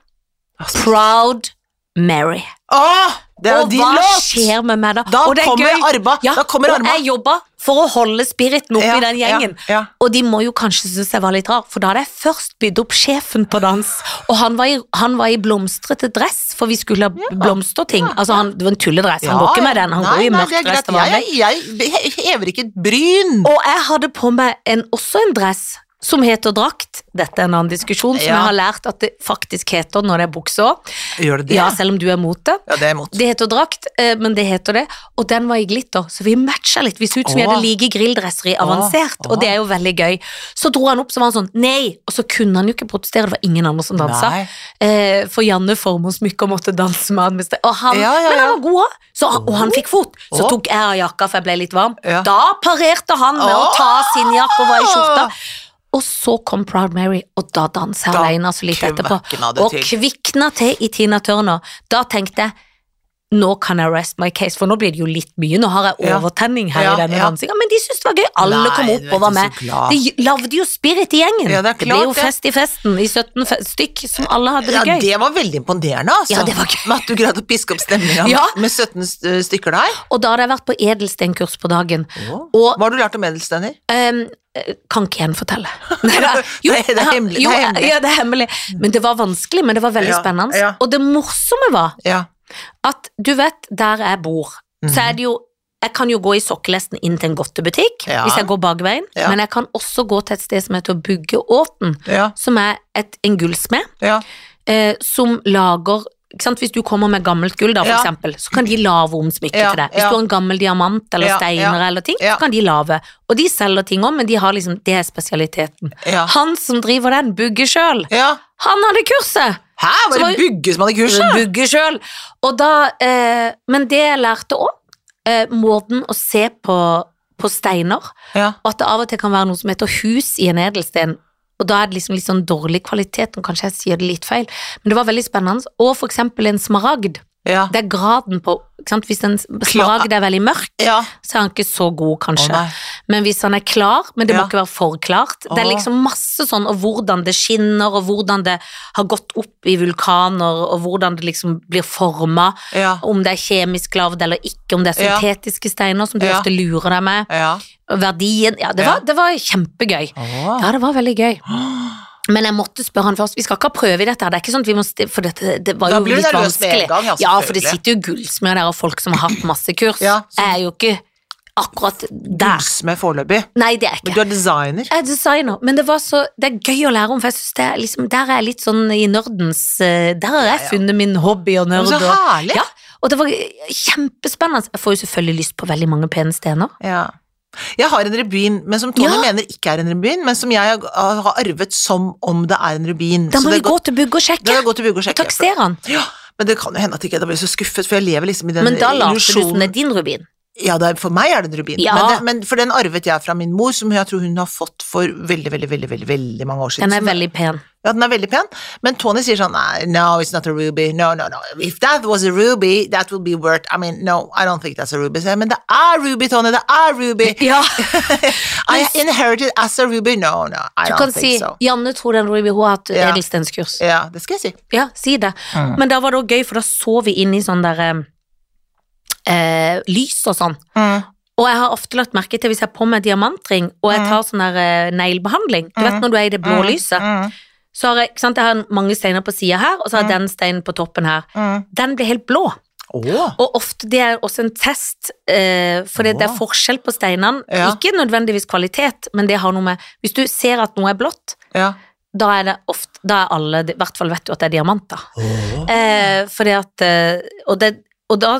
Speaker 1: Altså.
Speaker 2: Proud Mary.
Speaker 1: Åh, det er jo
Speaker 2: Og
Speaker 1: din
Speaker 2: hva
Speaker 1: låt!
Speaker 2: skjer med meg da?
Speaker 1: Da
Speaker 2: Og det er
Speaker 1: kommer
Speaker 2: gøy.
Speaker 1: Arba.
Speaker 2: Ja,
Speaker 1: Da kommer
Speaker 2: og
Speaker 1: Arba.
Speaker 2: jeg jobba for å holde spiriten oppe
Speaker 1: Ja,
Speaker 2: i den gjengen.
Speaker 1: Ja, ja.
Speaker 2: Og de må jo kanskje synes jeg var litt rar, for da hadde jeg først bydd opp sjefen på dans, og han var i, han var i blomstrete dress, for vi skulle ha blomsterting. Altså, han, det var en tulledress, han
Speaker 1: Ja,
Speaker 2: går ikke med
Speaker 1: ja.
Speaker 2: den, han
Speaker 1: Nei,
Speaker 2: går i
Speaker 1: nei,
Speaker 2: mørk
Speaker 1: det er greit.
Speaker 2: dress. til vanlig.
Speaker 1: Jeg, jeg, jeg hever ikke et bryn.
Speaker 2: Og jeg hadde på meg en, også en dress som heter drakt. Dette er en annen diskusjon, som
Speaker 1: Ja.
Speaker 2: jeg har lært at det faktisk heter når det er bukse òg.
Speaker 1: Gjør det det?
Speaker 2: Ja, selv om du er mot det.
Speaker 1: Ja, det er imot.
Speaker 2: Det heter drakt, eh, men det heter det. Og den var i glitter, så vi matcha litt. Vi så ut som vi
Speaker 1: Åh.
Speaker 2: hadde like grilldresser i avansert,
Speaker 1: Åh, åh.
Speaker 2: og det er jo veldig gøy. Så dro han opp, så var han sånn nei, og så kunne han jo ikke protestere, det var ingen andre som dansa.
Speaker 1: Nei.
Speaker 2: Eh, for Janne Formoe smykker måtte danse med han. mens det- Og han,
Speaker 1: Ja, ja,
Speaker 2: Men han
Speaker 1: ja.
Speaker 2: var god òg, Så han- og han fikk fot. Så
Speaker 1: Åh.
Speaker 2: tok jeg av jakka, for jeg ble litt varm.
Speaker 1: Ja.
Speaker 2: Da parerte han med å
Speaker 1: Åh.
Speaker 2: ta sin jakke og var i skjorta. Og så kom Proud Mary, og da dansa jeg
Speaker 1: Da
Speaker 2: alene altså litt etterpå.
Speaker 1: kvekna det
Speaker 2: Og
Speaker 1: til.
Speaker 2: kvikna til i Tina Turner. Da tenkte jeg nå kan jeg rest my case, for nå blir det jo litt mye. Nå har jeg
Speaker 1: Ja.
Speaker 2: overtenning her
Speaker 1: Ja,
Speaker 2: i denne
Speaker 1: ja.
Speaker 2: dansinga, men de syntes det var gøy. Alle
Speaker 1: Nei,
Speaker 2: kom
Speaker 1: du
Speaker 2: opp
Speaker 1: vet,
Speaker 2: og var
Speaker 1: det er
Speaker 2: med.
Speaker 1: så klart.
Speaker 2: De lagde jo spirit i gjengen.
Speaker 1: Ja, det er
Speaker 2: ble
Speaker 1: klart
Speaker 2: jo
Speaker 1: det.
Speaker 2: fest i festen i 17 fe- stykk som alle hadde det
Speaker 1: Ja,
Speaker 2: gøy.
Speaker 1: det var veldig imponerende, altså.
Speaker 2: Ja, det var gøy.
Speaker 1: Med at du greide å piske opp stemninga
Speaker 2: Ja.
Speaker 1: med 17 st- stykker der.
Speaker 2: Og da hadde jeg vært på edelstenkurs på dagen.
Speaker 1: Åh.
Speaker 2: Og
Speaker 1: Hva har du lært om edelstener?
Speaker 2: ehm, eh, kan ikke gjenfortelle. Nei, da- jo,
Speaker 1: Det er- det er hemmelig, det er
Speaker 2: Jo,
Speaker 1: hemmelig.
Speaker 2: Ja, det er hemmelig. Men det var vanskelig, men det var veldig
Speaker 1: Ja,
Speaker 2: spennende.
Speaker 1: ja.
Speaker 2: Og det morsomme var
Speaker 1: Ja.
Speaker 2: at du vet, der jeg bor, så
Speaker 1: Mhm.
Speaker 2: er det jo jeg kan jo gå i sokkelesten inn til en godtebutikk
Speaker 1: Ja.
Speaker 2: hvis jeg går bakveien,
Speaker 1: Ja.
Speaker 2: men jeg kan også gå til et sted som heter Bugge Åten,
Speaker 1: Ja.
Speaker 2: som er et, en gullsmed
Speaker 1: Ja.
Speaker 2: eh, som lager ikke sant? Hvis du kommer med gammelt gull, da, for
Speaker 1: Ja.
Speaker 2: eksempel, så kan de lage om smykket
Speaker 1: Ja,
Speaker 2: til deg. Hvis
Speaker 1: ja.
Speaker 2: du har en gammel diamant eller
Speaker 1: Ja,
Speaker 2: steiner eller ting,
Speaker 1: ja.
Speaker 2: så kan de lage. Og de selger ting òg, men de har liksom, det er spesialiteten.
Speaker 1: Ja.
Speaker 2: Han som driver den, bygger sjøl.
Speaker 1: ja.
Speaker 2: Han hadde kurset!
Speaker 1: Hæ,
Speaker 2: Så
Speaker 1: var
Speaker 2: var-
Speaker 1: det Bugge som hadde kurset?
Speaker 2: Bygger sjøl. Og da eh, Men det jeg lærte òg, eh, måten å se på, på steiner
Speaker 1: Ja.
Speaker 2: og at det av og til kan være noe som heter hus i en edelsten, og da er det liksom litt sånn dårlig kvalitet, og kanskje jeg sier det litt feil, men det var veldig spennende. Og for eksempel en smaragd,
Speaker 1: Ja.
Speaker 2: det er graden på, ikke sant, hvis en
Speaker 1: Klar-
Speaker 2: smaragd er veldig mørk,
Speaker 1: Ja.
Speaker 2: så er han ikke så god
Speaker 1: Å,
Speaker 2: kanskje.
Speaker 1: nei.
Speaker 2: Men hvis han er klar, men det
Speaker 1: Ja.
Speaker 2: må ikke være for klart, det er
Speaker 1: Å.
Speaker 2: liksom masse sånn, og hvordan det skinner, og hvordan det har gått opp i vulkaner, og hvordan det liksom blir formet,
Speaker 1: Ja.
Speaker 2: om det er kjemisk lavd eller ikke, om det er
Speaker 1: Ja.
Speaker 2: syntetiske steiner som du
Speaker 1: Ja.
Speaker 2: ofte lurer deg med,
Speaker 1: Ja.
Speaker 2: og verdien, ja, det
Speaker 1: Ja.
Speaker 2: var, det var kjempegøy.
Speaker 1: Å.
Speaker 2: Ja, det var veldig gøy. Men jeg måtte spørre han først. Vi skal ikke ha prøve i dette. her. Det er ikke sånn at vi må st- For dette, det var
Speaker 1: Da
Speaker 2: jo
Speaker 1: blir du
Speaker 2: litt
Speaker 1: nervøs med
Speaker 2: vanskelig.
Speaker 1: en gang, ja,
Speaker 2: ja, for det
Speaker 1: selvfølgelig.
Speaker 2: sitter jo gullsmeder der og folk som har hatt masse kurs.
Speaker 1: Ja, så-
Speaker 2: Jeg er jo ikke akkurat der.
Speaker 1: Gullsmed foreløpig.
Speaker 2: Nei, det er jeg
Speaker 1: Men du
Speaker 2: ikke.
Speaker 1: er designer.
Speaker 2: Jeg er designer, men det, var så, det er gøy å lære om, for jeg synes det er liksom, der er jeg litt sånn i nerdens eh, Der har jeg funnet min hobby og
Speaker 1: Men
Speaker 2: nerd.
Speaker 1: så
Speaker 2: og-
Speaker 1: herlig!
Speaker 2: Ja, og det var kjempespennende. Jeg får jo selvfølgelig lyst på veldig mange pene stener.
Speaker 1: Ja. Jeg har en rubin, men som Tony
Speaker 2: Ja.
Speaker 1: mener ikke er en rubin, men som jeg har- har arvet som om det er en rubin.
Speaker 2: Da
Speaker 1: Så
Speaker 2: må
Speaker 1: det
Speaker 2: vi
Speaker 1: er
Speaker 2: gå
Speaker 1: godt-
Speaker 2: til Bugge
Speaker 1: det
Speaker 2: og sjekke.
Speaker 1: er godt å bygge og sjekke.
Speaker 2: Taksere han.
Speaker 1: Ja, men det kan jo hende at ikke jeg da blir så skuffet, for jeg lever liksom i den
Speaker 2: Men da later du som det
Speaker 1: illusjonen.
Speaker 2: er din rubin.
Speaker 1: Ja, det er, for meg er det en rubin,
Speaker 2: Ja.
Speaker 1: men, det, men for den arvet jeg fra min mor, som jeg tror hun har fått for veldig, veldig, veldig, veldig, veldig mange år siden.
Speaker 2: Den er
Speaker 1: Som-
Speaker 2: veldig pen.
Speaker 1: Ja, den er veldig pen, men Tony sier sånn Nei, no, it's not a ruby. No, no, no. If that was a ruby, that would be worth I mean, no, I don't think that's a ruby. Så jeg, Men det er ruby, Tony, det er ruby!
Speaker 2: Ja,
Speaker 1: I inherited as a ruby. No, no, I
Speaker 2: Du
Speaker 1: don't
Speaker 2: kan
Speaker 1: think
Speaker 2: si
Speaker 1: so.
Speaker 2: Janne tror den Ruby hun har hatt
Speaker 1: Ja.
Speaker 2: edelstenskurs.
Speaker 1: Ja, Mm. det skal jeg si.
Speaker 2: Ja, si det. Men da var det også gøy, for da så vi inn i sånn der eh, eh, lys og sånn.
Speaker 1: Mm,
Speaker 2: Og jeg har ofte lagt merke til hvis jeg har på meg diamantring og jeg tar sånn der eh, neglebehandling Du vet når du er i det blå lyset,
Speaker 1: mm,
Speaker 2: så har jeg, ikke sant, jeg har mange steiner på sida her, og så har jeg den steinen på toppen her. Den blir helt blå.
Speaker 1: mm. Åh.
Speaker 2: Og ofte det er også en test, eh, for det, det er forskjell på steinene.
Speaker 1: Ja.
Speaker 2: Ikke nødvendigvis kvalitet, men det har noe med Hvis du ser at noe er blått,
Speaker 1: Ja.
Speaker 2: da er det ofte Da er alle I hvert fall vet du at det er diamanter. Eh, fordi at eh, og, det, og da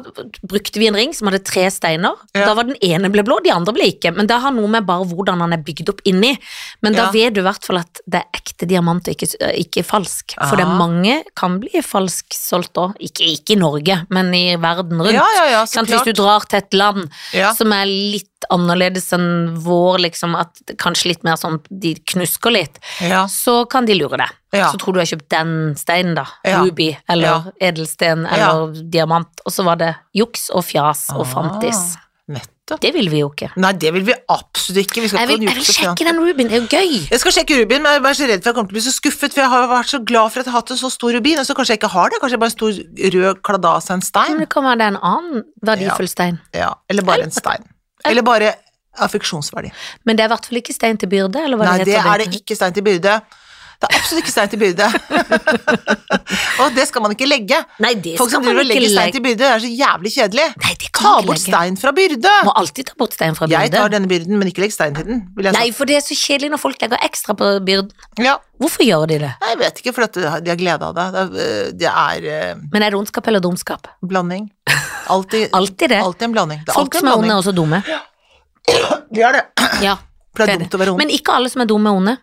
Speaker 2: brukte vi en ring som hadde tre steiner.
Speaker 1: Ja.
Speaker 2: Da var den ene ble blå, de andre ble ikke. Men det har noe med bare hvordan han er bygd opp inni. Men da
Speaker 1: Ja.
Speaker 2: vet du i hvert fall at det er ekte diamant og ikke, ikke falsk. For det
Speaker 1: Ah.
Speaker 2: er mange kan bli falsk solgt òg. Ikke, ikke i Norge, men i verden rundt.
Speaker 1: ja, ja, ja,
Speaker 2: Ikke
Speaker 1: så
Speaker 2: Sant? Hvis
Speaker 1: klart.
Speaker 2: du drar til et land
Speaker 1: Ja.
Speaker 2: som er litt annerledes enn vår, liksom, at det kanskje litt mer sånn de knusker litt,
Speaker 1: Ja.
Speaker 2: så kan de lure deg.
Speaker 1: Ja.
Speaker 2: Så tror du jeg har kjøpt den steinen, da.
Speaker 1: Ja.
Speaker 2: Ruby eller edelsten eller diamant. Og så var det juks og fjas og
Speaker 1: Ah.
Speaker 2: fantis.
Speaker 1: Nettopp.
Speaker 2: Det vil vi jo ikke.
Speaker 1: Nei, det vil vi absolutt ikke. Vi skal
Speaker 2: Jeg
Speaker 1: ikke
Speaker 2: vil,
Speaker 1: ha en
Speaker 2: jeg vil
Speaker 1: jukse fra-
Speaker 2: sjekke den rubyen, det er jo gøy.
Speaker 1: Jeg skal sjekke rubin, men jeg er bare så redd for jeg kommer til å bli så skuffet, for jeg har vært så glad for at jeg har hatt en så stor rubin, og så kanskje jeg ikke har det. Kanskje jeg bare har en stor rød kladas av en
Speaker 2: Men
Speaker 1: stein.
Speaker 2: det kan være det er en annen verdifull stein.
Speaker 1: Ja, eller bare en stein. Eller bare affeksjonsverdi.
Speaker 2: Men det er i hvert fall ikke stein til byrde, eller hva
Speaker 1: Nei,
Speaker 2: det
Speaker 1: det
Speaker 2: heter.
Speaker 1: er det ikke stein til byrde. Det er absolutt ikke stein til byrde. og det skal man ikke legge.
Speaker 2: Nei, det
Speaker 1: Folk som
Speaker 2: skal man
Speaker 1: driver og
Speaker 2: ikke
Speaker 1: legger stein
Speaker 2: legge.
Speaker 1: til byrde, det er så jævlig kjedelig.
Speaker 2: Nei, det kan
Speaker 1: Ta
Speaker 2: man ikke
Speaker 1: bort
Speaker 2: legge.
Speaker 1: stein fra byrde!
Speaker 2: Må alltid ta bort stein fra
Speaker 1: Jeg
Speaker 2: byrde.
Speaker 1: tar denne byrden, men ikke legg stein til den. Vil jeg
Speaker 2: Nei, for det er så kjedelig når folk legger ekstra på byrden.
Speaker 1: si. Ja.
Speaker 2: Hvorfor gjør de det?
Speaker 1: Nei, Jeg vet ikke, for at de har- de har glede av det. Det er, øh, det er øh,
Speaker 2: Men er det ondskap eller dumskap?
Speaker 1: blanding. Alltid,
Speaker 2: Alltid det.
Speaker 1: alltid en blanding. Det er
Speaker 2: Folk
Speaker 1: alltid en
Speaker 2: som er onde,
Speaker 1: blanding.
Speaker 2: er også dumme.
Speaker 1: Det er det.
Speaker 2: Ja,
Speaker 1: For det er
Speaker 2: det er
Speaker 1: dumt å være ond.
Speaker 2: Men ikke alle som er dumme, er onde.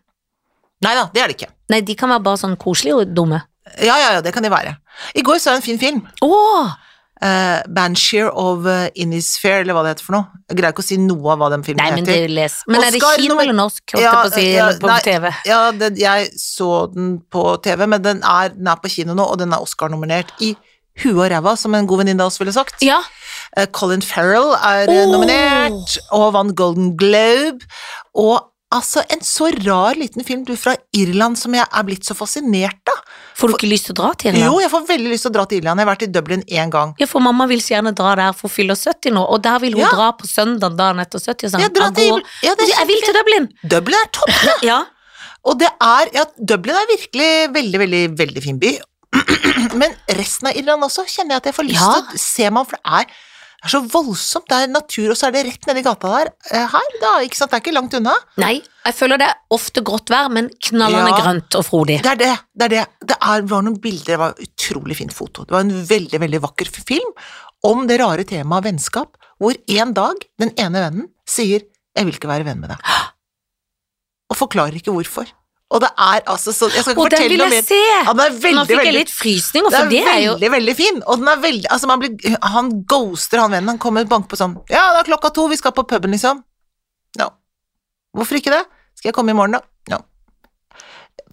Speaker 1: Nei da, det er det ikke.
Speaker 2: Nei, de kan være bare sånn koselige og dumme.
Speaker 1: Ja, ja, ja, det kan de være. I går så jeg en fin film.
Speaker 2: Åh!
Speaker 1: Uh, Banshire of uh, Innisfair, eller hva det heter for noe. Jeg greier ikke å si noe av hva den filmen
Speaker 2: Nei, men det
Speaker 1: heter.
Speaker 2: les. Men er det
Speaker 1: Oscar
Speaker 2: kino
Speaker 1: nummer-
Speaker 2: eller norsk, holdt jeg på å si,
Speaker 1: ja,
Speaker 2: eller på
Speaker 1: nei,
Speaker 2: TV?
Speaker 1: Ja, det, jeg så den på TV, men den er, den er på kino nå, og den er Oscar-nominert i huet og ræva, som en god venninne av oss ville sagt.
Speaker 2: Ja,
Speaker 1: Eh, Colin Farrell er eh,
Speaker 2: Åh!
Speaker 1: nominert, og vant Golden Globe. Og Altså, en så rar liten film du fra Irland som jeg er blitt så fascinert av.
Speaker 2: Får du ikke lyst til å dra til
Speaker 1: Jo,
Speaker 2: Irland?
Speaker 1: jeg får veldig lyst til å dra til Irland. Jeg har vært i Dublin én gang.
Speaker 2: Ja, for mamma vil så gjerne dra der, for hun fyller 70 nå, og der vil hun
Speaker 1: Ja.
Speaker 2: dra på søndag dagen etter 70. og Sånn.
Speaker 1: Ja, dra
Speaker 2: Jeg
Speaker 1: til-
Speaker 2: går-
Speaker 1: ja, det er
Speaker 2: jeg vil til Dublin!
Speaker 1: Dublin er topp!
Speaker 2: Ja.
Speaker 1: Og det er Ja, Dublin er virkelig veldig, veldig, veldig fin by. Men resten av Irland også kjenner jeg at jeg får lyst
Speaker 2: Ja.
Speaker 1: til å se meg om, for det er, det er så voldsomt. Det er natur, og så er det rett nedi gata der. eh, Her, da, ikke sant? Det er ikke langt unna.
Speaker 2: Nei, jeg føler det er ofte grått vær, men knallende
Speaker 1: Ja.
Speaker 2: grønt og frodig.
Speaker 1: Det er det. Det, er det. det er, var noen bilder, det var utrolig fint foto. Det var en veldig, veldig vakker f- film om det rare temaet vennskap, hvor en dag den ene vennen sier 'jeg vil ikke være venn med deg', og forklarer ikke hvorfor. Og det er altså sånn Jeg skal ikke
Speaker 2: Og den
Speaker 1: fortelle
Speaker 2: vil
Speaker 1: noe mer.
Speaker 2: jeg se!
Speaker 1: Ja, den er
Speaker 2: Nå
Speaker 1: veldig,
Speaker 2: fikk jeg
Speaker 1: veldig
Speaker 2: litt frysninger,
Speaker 1: den
Speaker 2: for
Speaker 1: er
Speaker 2: det er jo
Speaker 1: veldig, veldig fin, og den er veldig altså man blir, Han ghoster han vennen, han kommer og banker på sånn 'Ja, det er klokka to, vi skal på puben', liksom. No. Hvorfor ikke det? Skal jeg komme i morgen, da? No.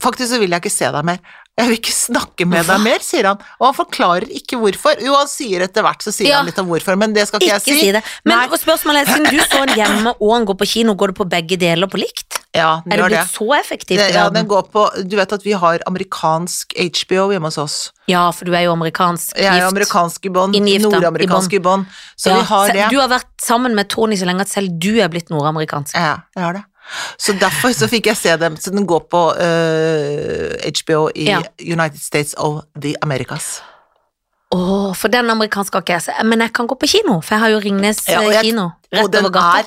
Speaker 1: Faktisk så vil jeg ikke se deg mer. Jeg vil ikke snakke med deg mer, sier han. Og han forklarer ikke hvorfor. Jo, han sier etter hvert, så sier
Speaker 2: Ja.
Speaker 1: han litt om hvorfor, men det skal ikke,
Speaker 2: Ikke
Speaker 1: jeg
Speaker 2: si
Speaker 1: si.
Speaker 2: det. Men
Speaker 1: Nei.
Speaker 2: og spørsmålet er, siden du så den hjemme og den går på kino, går det på begge deler på likt?
Speaker 1: Ja, den
Speaker 2: Er det
Speaker 1: gjør det.
Speaker 2: blitt så effektivt
Speaker 1: det
Speaker 2: i
Speaker 1: ja, den
Speaker 2: verden?
Speaker 1: går på Du vet at vi har amerikansk HBO hjemme hos oss.
Speaker 2: Ja, for du er jo amerikansk
Speaker 1: Jeg er jo
Speaker 2: gift.
Speaker 1: amerikansk i bånn.
Speaker 2: Inngift, da, i
Speaker 1: Nordamerikansk i bånn. Så
Speaker 2: Ja,
Speaker 1: vi har
Speaker 2: se-
Speaker 1: det.
Speaker 2: Du har vært sammen med Tony så lenge at selv du er blitt nordamerikansk.
Speaker 1: Ja, jeg har det. Så derfor så fikk jeg se dem. Så den går på eh, HBO i
Speaker 2: Ja.
Speaker 1: United States of the Americas.
Speaker 2: Åh, for den amerikanske har ikke jeg sett. Men jeg kan gå på kino, for jeg har jo Ringnes
Speaker 1: Ja, og
Speaker 2: eh,
Speaker 1: jeg-
Speaker 2: kino
Speaker 1: Og
Speaker 2: rett
Speaker 1: den
Speaker 2: over gata.
Speaker 1: er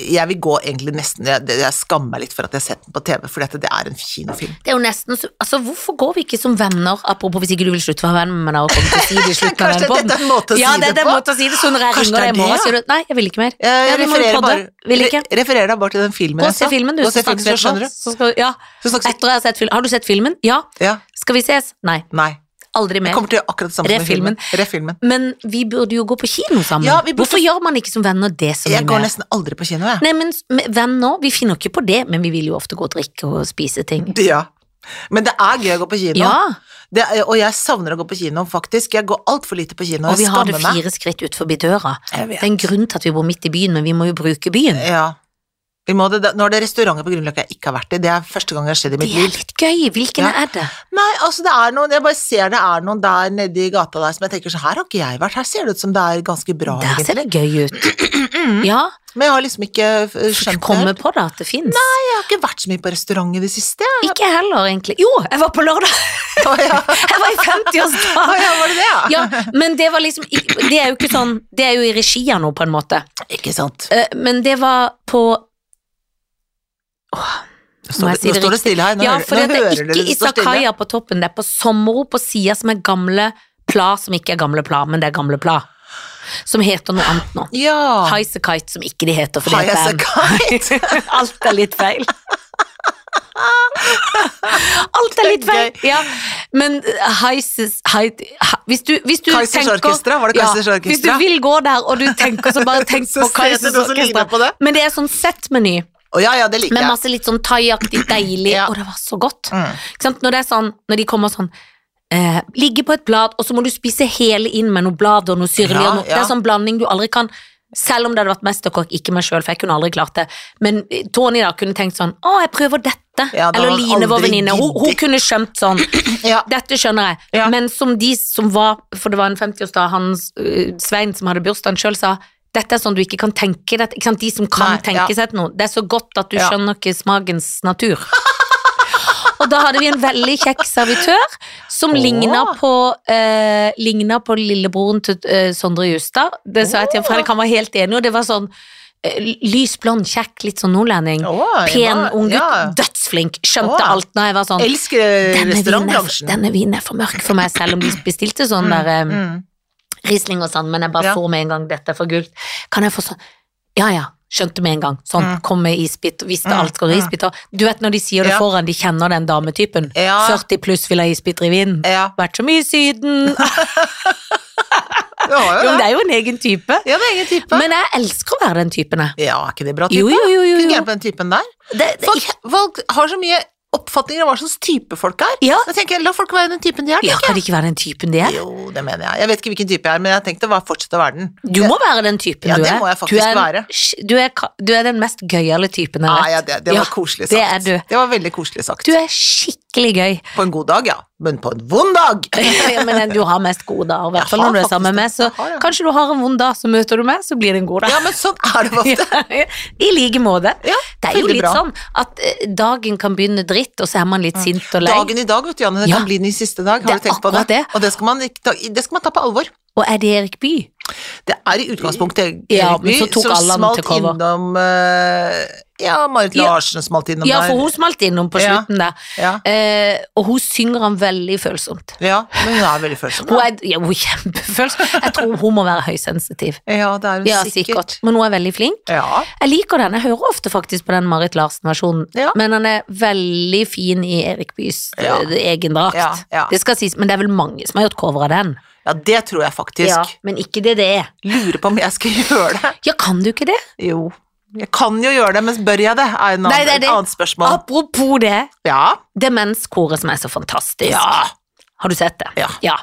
Speaker 1: Jeg vil gå egentlig nesten Jeg, det- jeg skammer meg litt for at jeg har sett den på TV, for dette, det er en kinofilm.
Speaker 2: Det er jo nesten så Altså, hvorfor går vi ikke som venner? Apropos hvis ikke du vil slutte å være venn med meg og komme til å si det i slutten av
Speaker 1: Kanskje dette
Speaker 2: denne podden.
Speaker 1: er en måte å
Speaker 2: Ja,
Speaker 1: si
Speaker 2: det
Speaker 1: det,
Speaker 2: er en
Speaker 1: på?
Speaker 2: måte å si det, så når jeg
Speaker 1: Kanskje
Speaker 2: ringer
Speaker 1: det er
Speaker 2: deg i morgen,
Speaker 1: det,
Speaker 2: sier du nei, jeg vil ikke mer.
Speaker 1: Jeg,
Speaker 2: Ja,
Speaker 1: jeg
Speaker 2: vi må jo
Speaker 1: refererer,
Speaker 2: podde.
Speaker 1: bare,
Speaker 2: Vil ikke.
Speaker 1: re- refererer deg bare til den filmen
Speaker 2: Gå
Speaker 1: jeg
Speaker 2: og se
Speaker 1: sa.
Speaker 2: filmen, du.
Speaker 1: Gå og se
Speaker 2: så
Speaker 1: filmen, så
Speaker 2: snakkes vi
Speaker 1: skjønner
Speaker 2: etterpå. Så skal, ja.
Speaker 1: Så snakkes vi-
Speaker 2: Etter jeg har sett film. Har du sett filmen? Ja.
Speaker 1: Ja,
Speaker 2: Skal vi ses? Nei.
Speaker 1: nei.
Speaker 2: Aldri
Speaker 1: Jeg
Speaker 2: mer.
Speaker 1: kommer til å gjøre akkurat det samme
Speaker 2: Re
Speaker 1: som i filmen. Refilmen.
Speaker 2: Men vi burde jo gå på kino sammen.
Speaker 1: Ja, vi burde-
Speaker 2: Hvorfor gjør man ikke som venner det så mye
Speaker 1: Jeg går
Speaker 2: mer?
Speaker 1: nesten aldri på kino, jeg.
Speaker 2: Nei, men s- med venner, vi finner jo ikke på det, men vi vil jo ofte gå og drikke og spise ting.
Speaker 1: Ja. Men det er gøy å gå på kino.
Speaker 2: Ja,
Speaker 1: Det, er- og jeg savner å gå på kino, faktisk. Jeg går altfor lite på kino.
Speaker 2: og vi
Speaker 1: jeg
Speaker 2: har det
Speaker 1: skammer meg.
Speaker 2: fire skritt ut forbi døra.
Speaker 1: Jeg
Speaker 2: Det
Speaker 1: vet.
Speaker 2: er en grunn til at vi bor midt i byen, men vi må jo bruke byen.
Speaker 1: Ja. Vi må det, nå er det restauranter på Grünerløkka jeg ikke har vært i. Det er første gang det har skjedd i
Speaker 2: Det
Speaker 1: mitt
Speaker 2: er
Speaker 1: liv.
Speaker 2: litt gøy. Hvilken
Speaker 1: Ja.
Speaker 2: er det?
Speaker 1: Nei, altså det er noen, Jeg bare ser det er noen der nede i gata der som jeg tenker så her har ikke jeg vært. Her ser det ut som det er ganske bra,
Speaker 2: Der ser
Speaker 1: egentlig.
Speaker 2: det gøy ut. Ja,
Speaker 1: Men jeg har liksom ikke eh,
Speaker 2: for du
Speaker 1: skjønt Mm. det.
Speaker 2: kommer på det at det fins.
Speaker 1: Jeg har ikke vært så mye på restaurant i det siste. jeg.
Speaker 2: Ikke jeg heller, egentlig. Jo, jeg var på lørdag!
Speaker 1: Å ja.
Speaker 2: Jeg var i 50-årsdag!
Speaker 1: Å ja, var det det, ja?
Speaker 2: Ah, Ja, men det var liksom Det er jo ikke sånn Det er jo i regi av noe, på en måte.
Speaker 1: Ikke sant.
Speaker 2: Eh, Men det var på
Speaker 1: Nå står,
Speaker 2: må jeg
Speaker 1: det,
Speaker 2: si
Speaker 1: nå
Speaker 2: det
Speaker 1: står det stille her. Nå,
Speaker 2: Ja,
Speaker 1: hører-
Speaker 2: for
Speaker 1: nå
Speaker 2: det
Speaker 1: hører
Speaker 2: er
Speaker 1: dere
Speaker 2: ikke
Speaker 1: det står stille.
Speaker 2: Isakaya på toppen, det er på Sommero på sida som er gamle Pla, som ikke er gamle Pla, men det er gamle Pla. Som heter noe annet nå.
Speaker 1: Ja.
Speaker 2: Highasakite, som ikke de heter, for det
Speaker 1: Ah. High
Speaker 2: er
Speaker 1: as a
Speaker 2: band.
Speaker 1: kite.
Speaker 2: Alt er litt feil. Alt er litt feil. Ja. Men uh, Highas Hvis du, hvis du
Speaker 1: Kaizers
Speaker 2: tenker
Speaker 1: Orkestra, var det Kaizers
Speaker 2: Ja,
Speaker 1: Orkestra?
Speaker 2: Hvis du vil gå der, og du tenker så bare tenk
Speaker 1: Så ser
Speaker 2: på
Speaker 1: det
Speaker 2: Kaizers
Speaker 1: noe som ligner
Speaker 2: Orkestra.
Speaker 1: på det.
Speaker 2: Men det er sånn settmeny
Speaker 1: Å ja, ja, det liker
Speaker 2: med
Speaker 1: jeg.
Speaker 2: masse litt sånn thaiaktig deilig,
Speaker 1: Ja.
Speaker 2: og det var så godt.
Speaker 1: Mm.
Speaker 2: Ikke sant? Når det er sånn, når de kommer sånn eh, Ligge på et blad, og så må du spise hele inn med noe blad og noe syrlig.
Speaker 1: Ja,
Speaker 2: og noe. Det
Speaker 1: ja.
Speaker 2: er sånn blanding du aldri kan selv om det hadde vært mesterkokk, ikke meg sjøl, for jeg kunne aldri klart det. Men eh, Tony da kunne tenkt sånn Å, jeg prøver dette.
Speaker 1: Ja, da
Speaker 2: Eller
Speaker 1: har han
Speaker 2: Line, vår
Speaker 1: aldri
Speaker 2: venninne. Hun, hun
Speaker 1: giddet.
Speaker 2: kunne skjønt sånn.
Speaker 1: Ja.
Speaker 2: Dette skjønner jeg.
Speaker 1: Ja.
Speaker 2: Men som de som var For det var en 50-årsdag, han øh, Svein som hadde bursdagen sjøl, sa dette er sånn du ikke kan tenke deg Ikke sant, de som kan
Speaker 1: Nei, ja.
Speaker 2: tenke seg noe. Det er så godt at du
Speaker 1: Ja.
Speaker 2: skjønner ikke smakens natur. Og da hadde vi en veldig kjekk servitør som
Speaker 1: Åh.
Speaker 2: ligna på, eh, ligna på lillebroren til eh, Sondre Justad. Det sa jeg til ham, Fredrik, han var helt enig, og det var sånn eh, lys blond, kjekk, litt sånn nordlending.
Speaker 1: Å, jeg
Speaker 2: Pen
Speaker 1: var-
Speaker 2: ung gutt,
Speaker 1: ja.
Speaker 2: dødsflink, skjønte
Speaker 1: Åh.
Speaker 2: alt når jeg var sånn
Speaker 1: Elsker
Speaker 2: denne vinen, er,
Speaker 1: eh, restaurantbransjen.
Speaker 2: denne vinen er for mørk for meg, selv om de bestilte sånn der eh,
Speaker 1: Mm.
Speaker 2: Riesling og sånn, men jeg bare
Speaker 1: Ja.
Speaker 2: så med en gang dette er for gult. Kan jeg få sånn Ja, ja. Skjønte med en gang. Sånn,
Speaker 1: Mm.
Speaker 2: kom med isbit, visste
Speaker 1: Mm,
Speaker 2: alt skal være
Speaker 1: mm.
Speaker 2: isbiter. Du vet når de sier det
Speaker 1: Ja. Eh,
Speaker 2: foran, de kjenner den dametypen.
Speaker 1: Ja. Eh.
Speaker 2: 40 pluss vil ha isbiter i vinen.
Speaker 1: Ja,
Speaker 2: Vært så mye i Syden.
Speaker 1: du har
Speaker 2: Jo,
Speaker 1: jo
Speaker 2: men
Speaker 1: det.
Speaker 2: det er jo en egen type.
Speaker 1: Ja, det er egen type.
Speaker 2: Men jeg elsker å være den typen, jeg.
Speaker 1: ja, er ikke det bra type?
Speaker 2: Jo, jo, jo. jo,
Speaker 1: Ikke
Speaker 2: jo.
Speaker 1: gærent på den typen der.
Speaker 2: Det, det,
Speaker 1: Folk, folk har så mye oppfatninger av hva slags type folk er.
Speaker 2: Ja.
Speaker 1: Da tenker jeg, La folk være den typen de er.
Speaker 2: Ja,
Speaker 1: tenker
Speaker 2: kan det ikke være den typen de
Speaker 1: jeg.
Speaker 2: er?
Speaker 1: Jo, det mener jeg. Jeg vet ikke hvilken type jeg er, men jeg har tenkt å være- fortsette å være den.
Speaker 2: Du må være den typen
Speaker 1: Ja,
Speaker 2: du er.
Speaker 1: det må jeg faktisk
Speaker 2: du er en-
Speaker 1: være. Ah,
Speaker 2: Du er, ka- du er den mest gøyale typen jeg
Speaker 1: Ja,
Speaker 2: vet.
Speaker 1: ja, det, det var koselig
Speaker 2: Det
Speaker 1: sagt.
Speaker 2: er du.
Speaker 1: var veldig koselig sagt.
Speaker 2: Du er skikkelig gøy.
Speaker 1: På en god dag, ja. Men på en vond dag!
Speaker 2: ja, men du har mest gode dager, i hvert fall
Speaker 1: Jeg har
Speaker 2: når du er
Speaker 1: faktisk
Speaker 2: sammen med meg. Så
Speaker 1: det. Jeg har det.
Speaker 2: kanskje du har en vond dag, så møter du meg, så blir det en god dag.
Speaker 1: Ja, men sånn er det ofte.
Speaker 2: I like måte.
Speaker 1: Ja,
Speaker 2: det er jo
Speaker 1: veldig
Speaker 2: litt
Speaker 1: bra. Mm.
Speaker 2: sånn at eh, dagen kan begynne dritt, og så er man litt sint og lei.
Speaker 1: Dagen i dag, vet du, Janne, det
Speaker 2: Ja.
Speaker 1: kan bli din siste dag.
Speaker 2: Det er
Speaker 1: Har du tenkt på det?
Speaker 2: akkurat det.
Speaker 1: Og det skal, man, ikke ta- det skal man ta på alvor.
Speaker 2: Og er det Erik By?
Speaker 1: Det er i utgangspunktet
Speaker 2: Ja,
Speaker 1: Erik
Speaker 2: men så
Speaker 1: Bye
Speaker 2: tok
Speaker 1: som
Speaker 2: alle han
Speaker 1: smalt
Speaker 2: til cover.
Speaker 1: innom eh, Ja, Marit
Speaker 2: Ja.
Speaker 1: Larsen smalt innom
Speaker 2: Ja,
Speaker 1: der.
Speaker 2: for hun smalt innom på
Speaker 1: Ja.
Speaker 2: slutten der.
Speaker 1: Ja.
Speaker 2: Eh, og hun synger han veldig følsomt.
Speaker 1: ja, men hun er veldig følsom.
Speaker 2: Hun
Speaker 1: da.
Speaker 2: er, ja, hun er kjempefølsom. Jeg tror hun må være høysensitiv.
Speaker 1: Ja, det er hun
Speaker 2: Ja,
Speaker 1: sikkert.
Speaker 2: sikkert. Men hun er veldig flink.
Speaker 1: Ja.
Speaker 2: Jeg liker den. Jeg hører ofte faktisk på den Marit Larsen-versjonen.
Speaker 1: Ja.
Speaker 2: Men han er veldig fin i Erik Byes eh,
Speaker 1: Ja.
Speaker 2: egen drakt.
Speaker 1: Ja, ja.
Speaker 2: Det skal sies, men det er vel mange som har gjort cover av den.
Speaker 1: ja, det tror jeg faktisk.
Speaker 2: Ja, men ikke det det er.
Speaker 1: Lurer på om jeg skal gjøre det.
Speaker 2: Ja, kan du ikke det?
Speaker 1: Jo. Jeg kan jo gjøre det, men bør jeg det? Er en annen,
Speaker 2: Nei, det er det.
Speaker 1: et annet spørsmål.
Speaker 2: Apropos det,
Speaker 1: Ja.
Speaker 2: demenskoret som er så fantastisk.
Speaker 1: Ja.
Speaker 2: Har du sett det?
Speaker 1: Ja.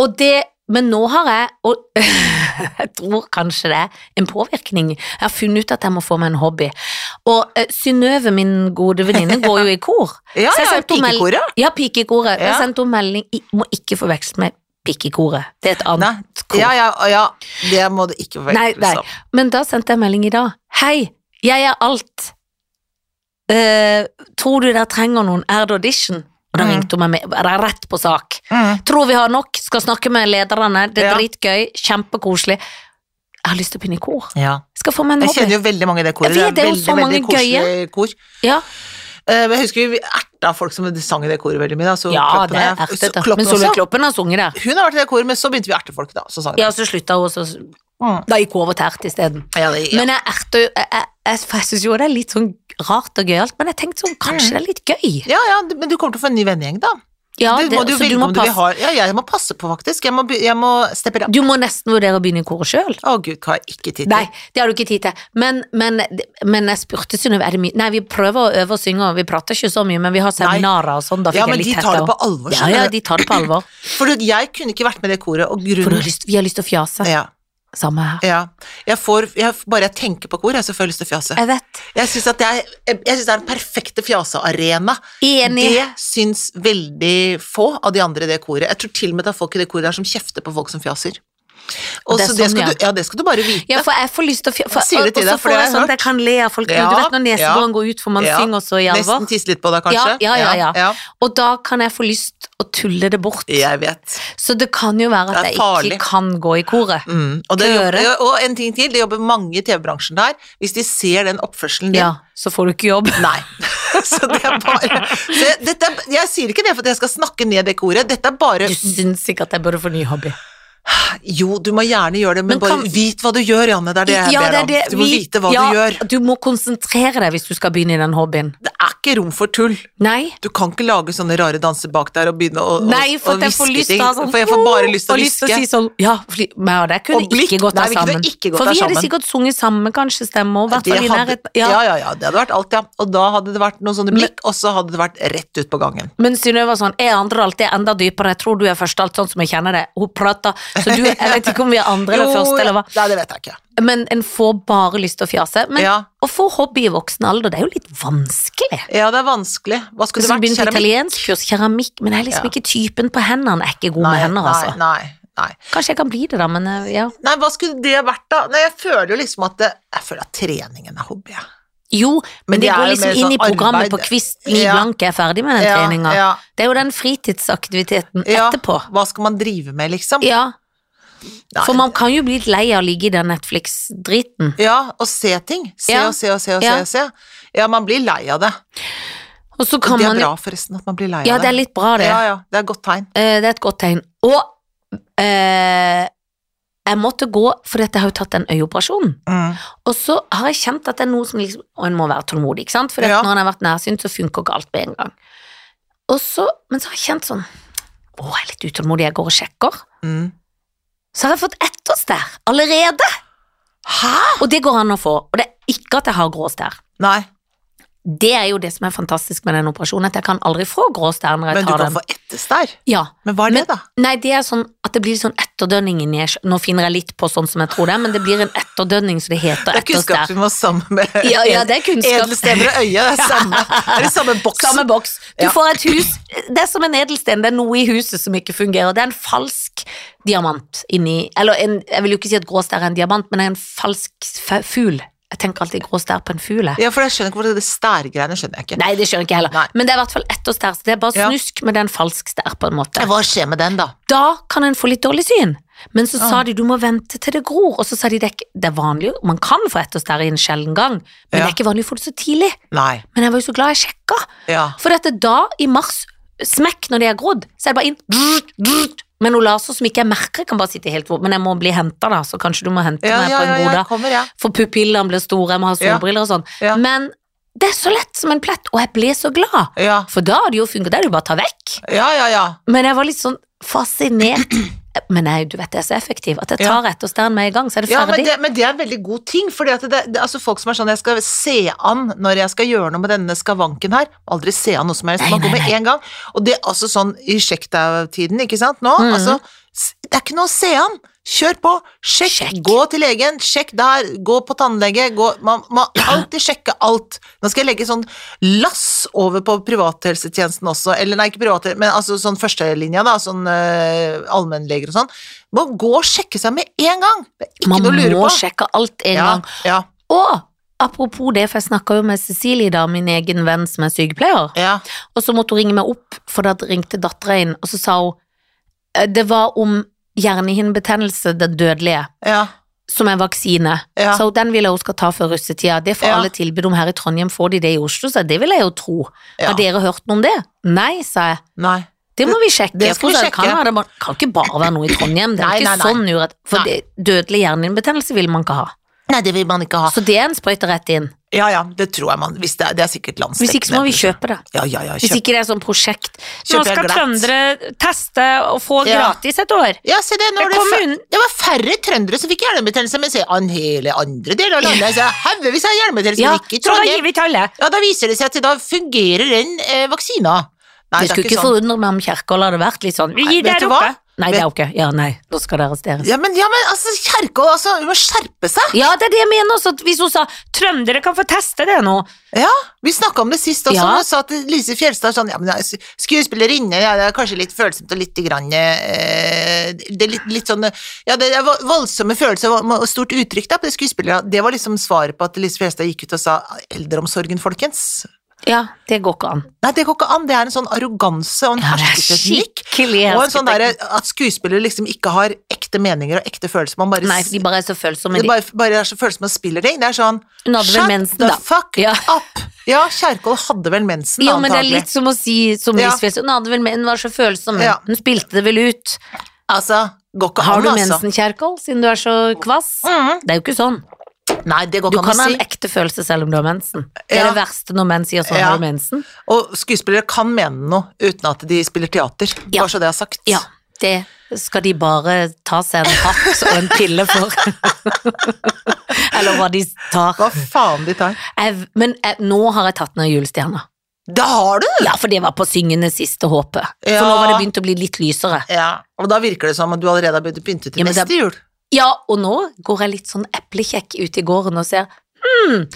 Speaker 2: Og det, men nå har jeg, og jeg tror kanskje det er en påvirkning, jeg har funnet ut at jeg må få meg en hobby. Og eh, Synnøve, min gode venninne, går jo i kor.
Speaker 1: Ja,
Speaker 2: Så jeg
Speaker 1: ja,
Speaker 2: sendte mel-
Speaker 1: pikekoret.
Speaker 2: Ja, pikekoret.
Speaker 1: Ja.
Speaker 2: Jeg sendte henne melding, I- må ikke forveksle med pikekoret, det er et
Speaker 1: Nei.
Speaker 2: annet kor.
Speaker 1: Ja, ja, ja. Det må det ikke
Speaker 2: Nei, nei.
Speaker 1: forveksles om.
Speaker 2: Men da sendte jeg melding i dag. Hei, jeg er alt. Eh, tror du dere trenger noen? Er det audition? Og da
Speaker 1: Mm.
Speaker 2: ringte hun meg med. Det er rett på sak.
Speaker 1: Mm.
Speaker 2: Tror vi har nok, skal snakke med lederne. Det er
Speaker 1: Ja.
Speaker 2: dritgøy, kjempekoselig. Jeg har lyst til å begynne i kor.
Speaker 1: Ja.
Speaker 2: Skal få meg en
Speaker 1: Jeg
Speaker 2: hobby.
Speaker 1: kjenner jo veldig mange i det koret.
Speaker 2: Jeg vet,
Speaker 1: det er
Speaker 2: det er jo
Speaker 1: veldig,
Speaker 2: så mange
Speaker 1: veldig koselig kor.
Speaker 2: Ja.
Speaker 1: Eh, men Jeg husker vi erta folk som sang i det koret veldig mye. Da. Så
Speaker 2: Ja,
Speaker 1: Kloppen
Speaker 2: det
Speaker 1: er-
Speaker 2: er ertet.
Speaker 1: så
Speaker 2: da.
Speaker 1: Kloppen
Speaker 2: Men Solveig
Speaker 1: også.
Speaker 2: Kloppen har sunget der.
Speaker 1: Hun har vært i det koret, men så begynte vi å erte folk, da. Så sang
Speaker 2: Ja,
Speaker 1: ja.
Speaker 2: så slutta hun, så
Speaker 1: Mm.
Speaker 2: Da gikk hun over til ert isteden.
Speaker 1: Ja, det, ja.
Speaker 2: Men jeg erter jo Jeg, jeg, jeg, for jeg syns jo det er litt sånn rart og gøyalt, men jeg tenkte sånn,
Speaker 1: Mm.
Speaker 2: kanskje det er litt gøy.
Speaker 1: ja, ja, du- men du kommer til å få en ny vennegjeng, da.
Speaker 2: Ja,
Speaker 1: det, må
Speaker 2: det-
Speaker 1: du
Speaker 2: så
Speaker 1: velge om du vil
Speaker 2: passe-
Speaker 1: ha Ja, jeg må passe på, faktisk. Jeg må, be- jeg må steppe det opp.
Speaker 2: Du må nesten vurdere å begynne i koret sjøl.
Speaker 1: Å gud, hva har jeg ikke tid til?
Speaker 2: Nei, det har du ikke tid til. Men, men, men jeg spurte Synnøve, er det mye Nei, vi prøver å øve og synge, og vi prater ikke så mye, men vi har seminarer og sånn. Da fikk
Speaker 1: Ja, men
Speaker 2: jeg litt
Speaker 1: de tar det på alvor,
Speaker 2: Ja, ja,
Speaker 1: skjønner du.
Speaker 2: de tar det på alvor.
Speaker 1: For du, jeg kunne ikke vært med i det koret, og
Speaker 2: For du har
Speaker 1: grunnen
Speaker 2: lyst, vi har lyst til å fjase.
Speaker 1: ja,
Speaker 2: Samme her.
Speaker 1: ja. Jeg får, jeg, bare jeg tenker på kor, jeg, så får jeg lyst til å fjase.
Speaker 2: Jeg vet.
Speaker 1: Jeg syns at det er, jeg, jeg synes det er den perfekte fjasearena.
Speaker 2: Enig.
Speaker 1: Det syns veldig få av de andre i det koret. Jeg tror til og med det er folk i det koret der som kjefter på folk som fjaser. Og det,
Speaker 2: Det er
Speaker 1: så det,
Speaker 2: sånn,
Speaker 1: skal
Speaker 2: ja.
Speaker 1: Du, ja, det skal du bare vite.
Speaker 2: Ja, for jeg får lyst til å fjase.
Speaker 1: Sier det til deg,
Speaker 2: og, og så
Speaker 1: for
Speaker 2: får
Speaker 1: det har
Speaker 2: jeg
Speaker 1: jeg
Speaker 2: sånn
Speaker 1: hørt.
Speaker 2: at jeg kan le av folk.
Speaker 1: Ja,
Speaker 2: Du vet når
Speaker 1: ja.
Speaker 2: nesebåren går ut, for man
Speaker 1: Ja.
Speaker 2: synger så i alvor.
Speaker 1: Nesten tisse litt på deg, kanskje.
Speaker 2: Ja, ja, ja, ja.
Speaker 1: ja.
Speaker 2: Og da kan jeg få lyst å tulle det bort.
Speaker 1: Jeg vet.
Speaker 2: Så det kan jo være at
Speaker 1: Det er
Speaker 2: jeg
Speaker 1: farlig.
Speaker 2: ikke kan gå i koret.
Speaker 1: Mm. Og, det
Speaker 2: Skal
Speaker 1: jobber,
Speaker 2: gjøre.
Speaker 1: og en ting til, det jobber mange i TV-bransjen der. Hvis de ser den oppførselen din
Speaker 2: Ja, så får du ikke jobb.
Speaker 1: Nei. Så det er bare så jeg, dette, er- jeg sier ikke det for at jeg skal snakke ned det koret, dette er bare
Speaker 2: Du syns ikke at jeg burde få ny hobby.
Speaker 1: Jo, du må gjerne gjøre det, men,
Speaker 2: Men kan-
Speaker 1: bare vit hva du gjør, Janne. Det er det jeg
Speaker 2: Ja,
Speaker 1: ber
Speaker 2: det
Speaker 1: om.
Speaker 2: er det
Speaker 1: Du må
Speaker 2: vi-
Speaker 1: vite hva
Speaker 2: ja,
Speaker 1: du gjør.
Speaker 2: Du må konsentrere deg hvis du skal begynne i den hobbyen.
Speaker 1: Det er ikke rom for tull.
Speaker 2: Nei.
Speaker 1: Du kan ikke lage sånne rare danser bak der og begynne å, å-
Speaker 2: Nei, for
Speaker 1: å
Speaker 2: at jeg får
Speaker 1: hviske
Speaker 2: lyst til
Speaker 1: ting.
Speaker 2: å ha sånn
Speaker 1: For jeg får bare lyst til
Speaker 2: og
Speaker 1: å
Speaker 2: lyst til
Speaker 1: hviske.
Speaker 2: å si sånn Ja, fordi meg og deg kunne
Speaker 1: Og blikk.
Speaker 2: ikke gått
Speaker 1: Nei,
Speaker 2: av
Speaker 1: vi kunne
Speaker 2: sammen.
Speaker 1: ikke gått
Speaker 2: for
Speaker 1: av
Speaker 2: vi hadde
Speaker 1: sammen.
Speaker 2: sikkert sunget samme, kanskje, stemme og i hvert
Speaker 1: Det
Speaker 2: fall i
Speaker 1: hadde,
Speaker 2: nærheten.
Speaker 1: ja.
Speaker 2: Ja.
Speaker 1: ja, ja, det hadde vært alt, ja. Og da hadde det vært noen sånne blikk, og så hadde det vært rett ut på gangen.
Speaker 2: Men Synnøve var sånn Jeg andre alt det er enda dypere, jeg tror du er først alt, sånn som jeg kjenner det. Hun prater, så du Jeg vet ikke om vi er andre eller første, eller hva.
Speaker 1: Nei, det vet jeg ikke.
Speaker 2: Men en får bare lyst til å fjase. Men
Speaker 1: Ja.
Speaker 2: å få hobby i voksen alder, det er jo litt vanskelig.
Speaker 1: Ja, det er vanskelig. Hva skulle det vært?
Speaker 2: Jeg skulle begynne på
Speaker 1: Keramikk?
Speaker 2: italienskkurs, keramikk, men jeg er liksom
Speaker 1: Ja.
Speaker 2: ikke typen på hendene. Jeg er ikke god
Speaker 1: Nei,
Speaker 2: med hender,
Speaker 1: nei,
Speaker 2: altså.
Speaker 1: nei, nei.
Speaker 2: Kanskje jeg kan bli det, da, men eh, ja.
Speaker 1: Nei, hva skulle det vært da? Nei, jeg føler jo liksom at det, Jeg føler at treningen er hobby, jeg.
Speaker 2: Jo, men,
Speaker 1: Men
Speaker 2: det
Speaker 1: det er
Speaker 2: går
Speaker 1: jo
Speaker 2: liksom
Speaker 1: mer
Speaker 2: inn i
Speaker 1: sånn
Speaker 2: programmet
Speaker 1: arbeid.
Speaker 2: på Kvist Liv
Speaker 1: Ja.
Speaker 2: Blanke er ferdig med den
Speaker 1: Ja,
Speaker 2: treninga.
Speaker 1: ja.
Speaker 2: Det er jo den fritidsaktiviteten
Speaker 1: Ja,
Speaker 2: etterpå.
Speaker 1: Hva skal man drive med, liksom?
Speaker 2: Ja,
Speaker 1: Nei,
Speaker 2: for man kan jo bli litt lei av å ligge i den Netflix-driten.
Speaker 1: Ja, og se ting. Se
Speaker 2: Ja.
Speaker 1: og se og se og
Speaker 2: Ja.
Speaker 1: se og se. Ja, man blir lei av det.
Speaker 2: Og så
Speaker 1: Og
Speaker 2: kan
Speaker 1: det er
Speaker 2: man
Speaker 1: bra, forresten, at man blir lei
Speaker 2: Ja,
Speaker 1: av
Speaker 2: det
Speaker 1: det.
Speaker 2: er litt bra, det.
Speaker 1: Ja, ja, det er et godt tegn.
Speaker 2: Eh, Det er et godt tegn. Og eh, jeg måtte gå, for jeg har jo tatt den øyeoperasjonen.
Speaker 1: Mm.
Speaker 2: Og så har jeg kjent at det er noe som liksom Og en må være tålmodig, ikke sant? For
Speaker 1: Ja.
Speaker 2: når en har vært nærsynt, så funker ikke alt med en gang. Og så, men så har jeg kjent sånn Å, jeg er litt utålmodig, jeg går og sjekker.
Speaker 1: Mm.
Speaker 2: Så har jeg fått ett oss der allerede!
Speaker 1: Hæ?
Speaker 2: Og det går an å få. Og det er ikke at jeg har grå stær.
Speaker 1: Nei.
Speaker 2: Det er jo det som er fantastisk med den operasjonen, at jeg kan aldri få grå stær når jeg
Speaker 1: Men du
Speaker 2: tar
Speaker 1: kan
Speaker 2: den.
Speaker 1: få etterstær.
Speaker 2: Ja.
Speaker 1: Men hva er det, da?
Speaker 2: Nei, det er sånn at det blir sånn etterdønning inni jeg- Nå finner jeg litt på sånn som jeg tror det, er, men det blir en etterdønning, så det heter
Speaker 1: Det er kunnskap
Speaker 2: etterstær.
Speaker 1: vi må sammen med
Speaker 2: Ja, ja, det er kunnskap.
Speaker 1: edelstener og øye. Det er samme, det er i samme boksen.
Speaker 2: Samme boks. Du
Speaker 1: Ja.
Speaker 2: får et hus. Det er som en edelsten. Det er noe i huset som ikke fungerer. Det er en falsk diamant inni Eller en, jeg vil jo ikke si at grå stær er en diamant, men det er en falsk fe- fugl. Jeg tenker alltid grå stær på en fugl. jeg.
Speaker 1: Ja, for jeg skjønner ikke hvor det- det stærgreiene skjønner jeg ikke.
Speaker 2: Nei, det skjønner jeg ikke heller.
Speaker 1: Nei.
Speaker 2: Men det er i hvert fall etterstær. Så det er bare
Speaker 1: Ja.
Speaker 2: snusk, men det er en falsk stær, på en måte.
Speaker 1: Hva skjer med den, da?
Speaker 2: da kan en få litt dårlig syn. Men så sa de du må vente til det gror, og så sa de det er, ikke- det er vanlig, man kan få etterstær i en sjelden gang, men det
Speaker 1: Ja.
Speaker 2: er ikke vanlig å få det så tidlig.
Speaker 1: Nei.
Speaker 2: Men jeg var jo så glad jeg sjekka,
Speaker 1: Ja.
Speaker 2: for dette da, i mars, smekk når de er grodd, så er det bare inn drrt, drrt, med noen laser som ikke jeg merker, jeg kan bare sitte helt hvor, men jeg må bli henta da, så kanskje du må hente
Speaker 1: Ja,
Speaker 2: meg
Speaker 1: ja,
Speaker 2: på en
Speaker 1: ja,
Speaker 2: god
Speaker 1: jeg
Speaker 2: dag.
Speaker 1: kommer, ja.
Speaker 2: For pupillene blir store, jeg må ha
Speaker 1: Ja.
Speaker 2: solbriller og sånn.
Speaker 1: Ja.
Speaker 2: Men det er så lett som en plett, og jeg ble så glad.
Speaker 1: Ja,
Speaker 2: For da har det jo funket, det er det jo bare å ta vekk.
Speaker 1: ja, ja. ja.
Speaker 2: Men jeg var litt sånn fascinert. Men jeg, du vet, jeg er så effektiv at jeg
Speaker 1: Ja.
Speaker 2: tar etterstæren med en gang, så er det
Speaker 1: ja men,
Speaker 2: ferdig.
Speaker 1: det, men det er en veldig god ting, for det, det, altså folk som er sånn Jeg skal se an når jeg skal gjøre noe med denne skavanken her. Aldri se an noe som helst.
Speaker 2: Nei,
Speaker 1: Man går
Speaker 2: nei,
Speaker 1: med
Speaker 2: nei.
Speaker 1: en gang. Og det er altså sånn i sjekk deg-tiden, ikke sant, nå.
Speaker 2: Mhm.
Speaker 1: Altså, s- det er ikke noe å se an. Kjør på, sjekk,
Speaker 2: Sjekk.
Speaker 1: gå til legen, sjekk der, gå på tannlege, gå Man må alltid sjekke alt. Nå skal jeg legge sånn lass over på privathelsetjenesten også, eller nei, ikke privat, men altså sånn førstelinja, da, sånn eh, allmennleger og sånn. Må gå og sjekke seg med en gang! Det er ikke
Speaker 2: Man
Speaker 1: noe å lure
Speaker 2: må
Speaker 1: på.
Speaker 2: sjekke alt en
Speaker 1: ja,
Speaker 2: gang.
Speaker 1: ja,
Speaker 2: Og apropos det, for jeg snakka jo med Cecilie, da, min egen venn som er sykepleier,
Speaker 1: ja.
Speaker 2: og så måtte hun ringe meg opp, for da ringte dattera inn, og så sa hun eh, det var om hjernehinnebetennelse, det dødelige,
Speaker 1: ja.
Speaker 2: som er vaksine.
Speaker 1: Ja.
Speaker 2: Så den vil jeg hun skal ta før russetida. Det får
Speaker 1: Ja.
Speaker 2: alle tilbud om her i Trondheim, får de det i Oslo, så det vil jeg jo tro.
Speaker 1: Ja.
Speaker 2: Har dere hørt noe om det? Nei, sa jeg.
Speaker 1: Nei.
Speaker 2: Det må vi sjekke.
Speaker 1: det skal vi
Speaker 2: for det Kan,
Speaker 1: sjekke.
Speaker 2: være, det må- kan ikke bare være noe i Trondheim. Det er
Speaker 1: Nei,
Speaker 2: ikke
Speaker 1: nei, nei.
Speaker 2: sånn urett. For
Speaker 1: Nei.
Speaker 2: det, dødelig hjernehinnebetennelse vil man ikke ha.
Speaker 1: Nei, det vil man ikke ha.
Speaker 2: Så det er en sprøyte rett inn.
Speaker 1: Ja ja, det tror jeg man hvis Det er, det er sikkert landsdekkende.
Speaker 2: Hvis ikke så må vi kjøpe det.
Speaker 1: Ja ja ja,
Speaker 2: Hvis
Speaker 1: kjøp.
Speaker 2: ikke det er sånn prosjekt.
Speaker 1: Kjøper jeg glatt.
Speaker 2: teste og få
Speaker 1: Ja.
Speaker 2: et år.
Speaker 1: Ja, se det, når
Speaker 2: Men
Speaker 1: det, fa-
Speaker 2: kommunen-
Speaker 1: det var færre trøndere som fikk hjelmebetennelse, men se, an hele andre deler av landet så er haugevis av hjelmebetennelse som ikke i Trondheim.
Speaker 2: vi til alle.
Speaker 1: Ja, da viser det seg at da fungerer den eh, vaksina. Nei,
Speaker 2: Det skulle ikke
Speaker 1: sånn.
Speaker 2: forundre meg om Kjerkol hadde vært litt sånn Vi
Speaker 1: Nei,
Speaker 2: gir
Speaker 1: vet
Speaker 2: det
Speaker 1: du
Speaker 2: oppe.
Speaker 1: hva?
Speaker 2: Nei, det er jo ikke Ja, nei, nå skal det arresteres.
Speaker 1: Ja, men, ja, men altså, Kjerkol, altså, vi må skjerpe seg.
Speaker 2: Ja, det er det jeg mener. Så at hvis hun sa trøndere kan få teste det nå
Speaker 1: Ja, Vi snakka om det sist også,
Speaker 2: Ja.
Speaker 1: og sa at Lise Fjelstad er sånn ja, men jeg er Skuespillerinne, ja, det er kanskje litt følsomt og litt grann, eh, Det er litt, litt sånn Ja, det er vo- voldsomme følelser og og stort uttrykk da på det skuespillere. Det var liksom svaret på at Lise Fjelstad gikk ut og sa eldreomsorgen, folkens.
Speaker 2: Ja, det går ikke an.
Speaker 1: Nei, det går ikke an. Det er en sånn arroganse og en
Speaker 2: Ja, det er
Speaker 1: hersketeknikk.
Speaker 2: skikkelig
Speaker 1: Og en sånn
Speaker 2: hersketeknikk.
Speaker 1: derre at skuespillere liksom ikke har ekte meninger og ekte følelser. Man bare,
Speaker 2: Nei, de bare er så følsomme.
Speaker 1: det
Speaker 2: De.
Speaker 1: bare, bare er så følsomme og spiller ting. Det er sånn
Speaker 2: Hun hadde vel
Speaker 1: Shut
Speaker 2: mensen,
Speaker 1: the
Speaker 2: da.
Speaker 1: fuck
Speaker 2: Ja.
Speaker 1: up! Ja, Kjerkol hadde vel mensen,
Speaker 2: Jo, men det er
Speaker 1: antagelig.
Speaker 2: litt som å si som
Speaker 1: Ja.
Speaker 2: Lise Fjeldstad, Hun hadde vel men, hun var så følsom, hun.
Speaker 1: Ja.
Speaker 2: Hun spilte det vel ut.
Speaker 1: Altså, går ikke
Speaker 2: Har
Speaker 1: an,
Speaker 2: du
Speaker 1: altså.
Speaker 2: mensen, Kjerkol, siden du er så kvass?
Speaker 1: Mhm.
Speaker 2: Det er jo ikke sånn.
Speaker 1: Nei, det går
Speaker 2: Du
Speaker 1: ikke an å
Speaker 2: kan ha
Speaker 1: si.
Speaker 2: en ekte følelse selv om du har mensen. Det er
Speaker 1: Ja.
Speaker 2: det verste når menn sier sånn,
Speaker 1: Ja.
Speaker 2: har du mensen?
Speaker 1: Og skuespillere kan mene noe uten at de spiller teater,
Speaker 2: Ja.
Speaker 1: bare så det er sagt.
Speaker 2: Ja, det skal de bare ta seg en hatt og en pille for. Eller hva de tar.
Speaker 1: Hva faen de tar.
Speaker 2: Jeg, men jeg, nå har jeg tatt ned julestjerna.
Speaker 1: Da har du det!
Speaker 2: Ja, for det var på syngende siste håpet.
Speaker 1: Ja.
Speaker 2: For nå var det begynt å bli litt lysere.
Speaker 1: Ja, og da virker det som at du allerede har begynt å pynte til
Speaker 2: Ja, men
Speaker 1: neste
Speaker 2: det-
Speaker 1: jul.
Speaker 2: Ja, og nå går jeg litt sånn eplekjekk ut i gården og ser hmm,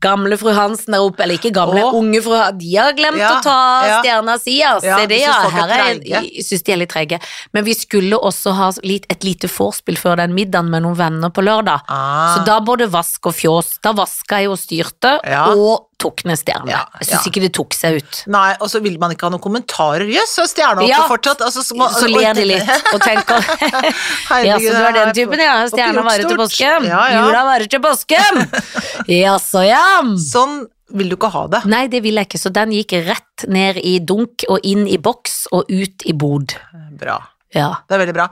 Speaker 2: Gamle fru Hansen er oppe, eller ikke gamle,
Speaker 1: Åh.
Speaker 2: unge fru Hansen, de har glemt
Speaker 1: Ja,
Speaker 2: å ta
Speaker 1: ja.
Speaker 2: stjerna si, ja. Se
Speaker 1: Ja, de
Speaker 2: det,
Speaker 1: synes
Speaker 2: ja.
Speaker 1: folk er
Speaker 2: Her er,
Speaker 1: treige.
Speaker 2: jeg synes de er litt trege. Men vi skulle også ha litt, et lite vorspiel før den middagen med noen venner på lørdag.
Speaker 1: Ah.
Speaker 2: Så da både vask og fjås. Da vaska jeg og styrte,
Speaker 1: Ja.
Speaker 2: og tok ned stjerne.
Speaker 1: Ja,
Speaker 2: Jeg syns
Speaker 1: ja.
Speaker 2: ikke det tok seg ut.
Speaker 1: Nei, og så vil man ikke ha noen kommentarer. Jøss, så er stjerna oppe
Speaker 2: Ja.
Speaker 1: fortsatt. Altså, så, må-
Speaker 2: Så ler de litt og tenker
Speaker 1: Herregud,
Speaker 2: Ja, så du er
Speaker 1: det
Speaker 2: den typen, ja. Stjerna
Speaker 1: oppgjort
Speaker 2: varer til
Speaker 1: stort.
Speaker 2: påsken.
Speaker 1: Ja, ja.
Speaker 2: Jula varer til påsken. Jaså, ja.
Speaker 1: Sånn vil du ikke ha det.
Speaker 2: Nei, det ville jeg ikke, så den gikk rett ned i dunk og inn i boks og ut i bod.
Speaker 1: Bra.
Speaker 2: Ja.
Speaker 1: Det er veldig bra.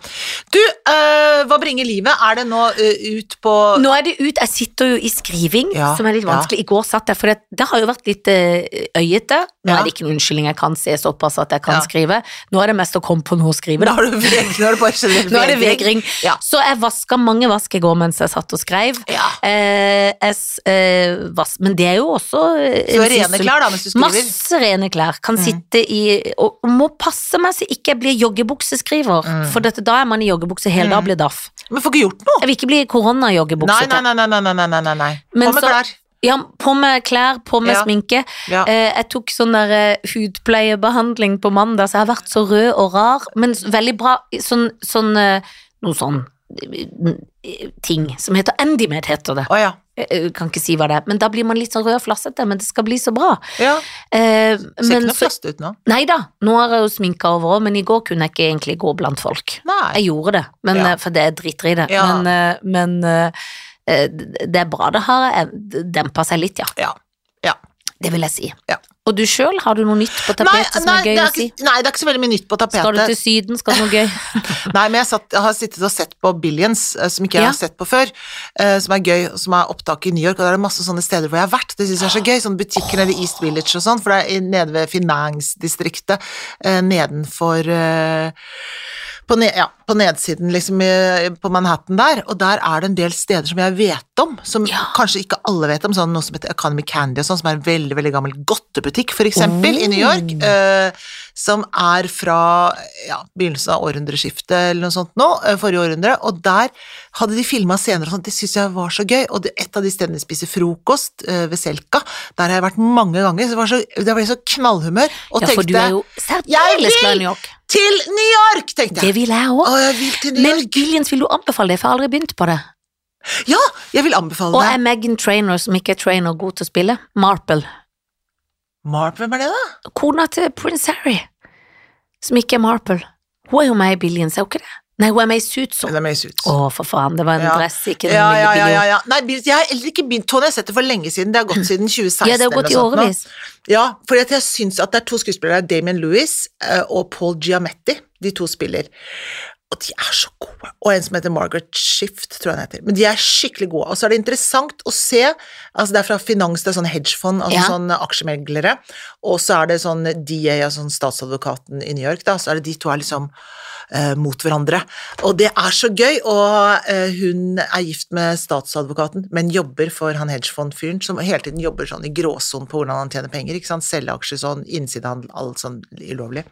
Speaker 1: Du, eh, hva bringer livet? Er det nå eh, ut på
Speaker 2: Nå er det ut, jeg sitter jo i skriving,
Speaker 1: Ja,
Speaker 2: som er litt
Speaker 1: ja.
Speaker 2: vanskelig. I går satt jeg, for det, det har jo vært litt eh, øyete. Nå
Speaker 1: Ja.
Speaker 2: er det ikke noen unnskyldning jeg kan se såpass at jeg kan
Speaker 1: Ja.
Speaker 2: skrive. Nå er det mest å komme på noe å skrive.
Speaker 1: Men da
Speaker 2: Da.
Speaker 1: har du veg, nå er det bare generell
Speaker 2: Nå er det
Speaker 1: vegring.
Speaker 2: vegring.
Speaker 1: Ja.
Speaker 2: Så jeg vaska mange vask i går mens jeg satt og skrev.
Speaker 1: ja.
Speaker 2: Eh, jeg, s- eh, vas- men det er jo også
Speaker 1: Så
Speaker 2: eh,
Speaker 1: du
Speaker 2: en
Speaker 1: er rene
Speaker 2: syssel.
Speaker 1: klær da, mens du skriver? Mm.
Speaker 2: Masse rene klær. Kan sitte i Og og må passe meg så ikke jeg blir joggebukseskriver.
Speaker 1: Mm.
Speaker 2: For dette, da er man i joggebukse hele dag og blir daff.
Speaker 1: Men får ikke gjort noe.
Speaker 2: Jeg vil ikke bli
Speaker 1: Mm. Nei,
Speaker 2: korona-joggebuksete.
Speaker 1: nei, nei, nei, nei, nei, nei, nei, nei.
Speaker 2: Men
Speaker 1: På med
Speaker 2: så-
Speaker 1: klær.
Speaker 2: Ja, på med klær, på med
Speaker 1: Ja.
Speaker 2: sminke.
Speaker 1: Ja.
Speaker 2: Eh, jeg tok sånn der eh, hudpleiebehandling på mandag, så jeg har vært så rød og rar, men s- veldig bra sånn, sånn eh, Noe sånn eh, ting som heter Endimed, heter det.
Speaker 1: Å ja.
Speaker 2: Jeg, jeg Eh, kan ikke si hva det er, men da blir man litt sånn rød og flassete, men det skal bli så bra.
Speaker 1: ja.
Speaker 2: Eh,
Speaker 1: Ser ikke
Speaker 2: men
Speaker 1: noe
Speaker 2: så
Speaker 1: flast ut nå.
Speaker 2: Nei da, nå har jeg jo sminka over òg, men i går kunne jeg ikke egentlig gå blant folk.
Speaker 1: Nei.
Speaker 2: Jeg gjorde det, men,
Speaker 1: Ja.
Speaker 2: eh, for det er driter i det.
Speaker 1: Ja.
Speaker 2: Men, eh, men eh, eh, det er bra det har eh, dempa seg litt, ja.
Speaker 1: Ja. Ja.
Speaker 2: Det vil jeg si.
Speaker 1: Ja.
Speaker 2: Og du sjøl, har du noe nytt på tapetet som
Speaker 1: nei,
Speaker 2: er gøy
Speaker 1: det
Speaker 2: å
Speaker 1: er
Speaker 2: si?
Speaker 1: ikke, nei, det er ikke så veldig mye nytt på tapetet.
Speaker 2: Skal du til Syden, skal du noe gøy?
Speaker 1: Nei, men jeg, satt, jeg har sittet og sett på Billions, eh, som ikke jeg
Speaker 2: Ja.
Speaker 1: har sett på før, eh, som er gøy, og som er opptak i New York, og der er det masse sånne steder hvor jeg har vært. Det synes jeg er så gøy, sånne butikker nede i East Village og sånn, for det er i- nede ved finansdistriktet, eh, nedenfor eh, på, ne ja, på nedsiden, liksom, i- på Manhattan der, og der er det en del steder som jeg vet om, som
Speaker 2: Ja.
Speaker 1: kanskje ikke alle vet om, sånn noe som heter Economy Candy og sånn, som er en veldig, veldig gammel godtebutikk, for eksempel, i New York,
Speaker 2: Mm.
Speaker 1: eh, som er fra ja, begynnelsen av århundreskiftet eller noe sånt nå, eh, forrige århundre, og der hadde de filma scener og sånt, det syns jeg var så gøy, og det, et av de stedene de spiser frokost, eh, ved Selka, der har jeg vært mange ganger, så det var så, det var så knallhumør, og
Speaker 2: Ja, for du
Speaker 1: tenkte
Speaker 2: er jo
Speaker 1: Jeg
Speaker 2: særdeles glad i New
Speaker 1: vil
Speaker 2: York.
Speaker 1: til New York, tenkte
Speaker 2: Det
Speaker 1: jeg.
Speaker 2: vil jeg
Speaker 1: Å,
Speaker 2: òg.
Speaker 1: jeg vil til New
Speaker 2: Men
Speaker 1: York.
Speaker 2: Gillians, vil du anbefale det, for jeg har aldri begynt på det.
Speaker 1: Ja, jeg vil anbefale
Speaker 2: Og
Speaker 1: deg.
Speaker 2: er Megan Trainor, som ikke er trainer, god til å spille? Marple.
Speaker 1: Marp, hvem er det, da?
Speaker 2: kona til prins Harry, som ikke er Marple. Hun er jo med i Billions, er hun ikke det? Nei, hun er med i Suits.
Speaker 1: Det
Speaker 2: Å,
Speaker 1: er med i Suits.
Speaker 2: for faen, det var en
Speaker 1: Ja.
Speaker 2: dress, ikke den
Speaker 1: Ja,
Speaker 2: lille
Speaker 1: ja, ja, ja,
Speaker 2: billion.
Speaker 1: ja. Nei, Billions- jeg har heller ikke begynt, Tony. Jeg har sett det for lenge siden. Det har gått siden 2016.
Speaker 2: Mm. Ja, det har
Speaker 1: eller
Speaker 2: gått i
Speaker 1: noe sånt nå.
Speaker 2: årevis.
Speaker 1: Ja, for jeg syns at det er to skuespillere, Damien Lewis eh, og Paul Giametti. De to spiller. Og de er så gode. Og en som heter Margaret Shift, tror jeg hun heter. Men de er skikkelig gode. Og så er det interessant å se altså Det er fra finans, det er sånn hedgefond, altså
Speaker 2: Ja.
Speaker 1: sånn aksjemeglere. Og så er det sånn DA, altså sånn statsadvokaten i New York, da. Så er det de to er liksom eh, mot hverandre. Og det er så gøy, og eh, hun er gift med statsadvokaten, men jobber for han hedgefondfyren som hele tiden jobber sånn i gråsonen på hvordan han tjener penger, ikke sant, selge aksjer sånn, innsidehandel, alt sånn ulovlig.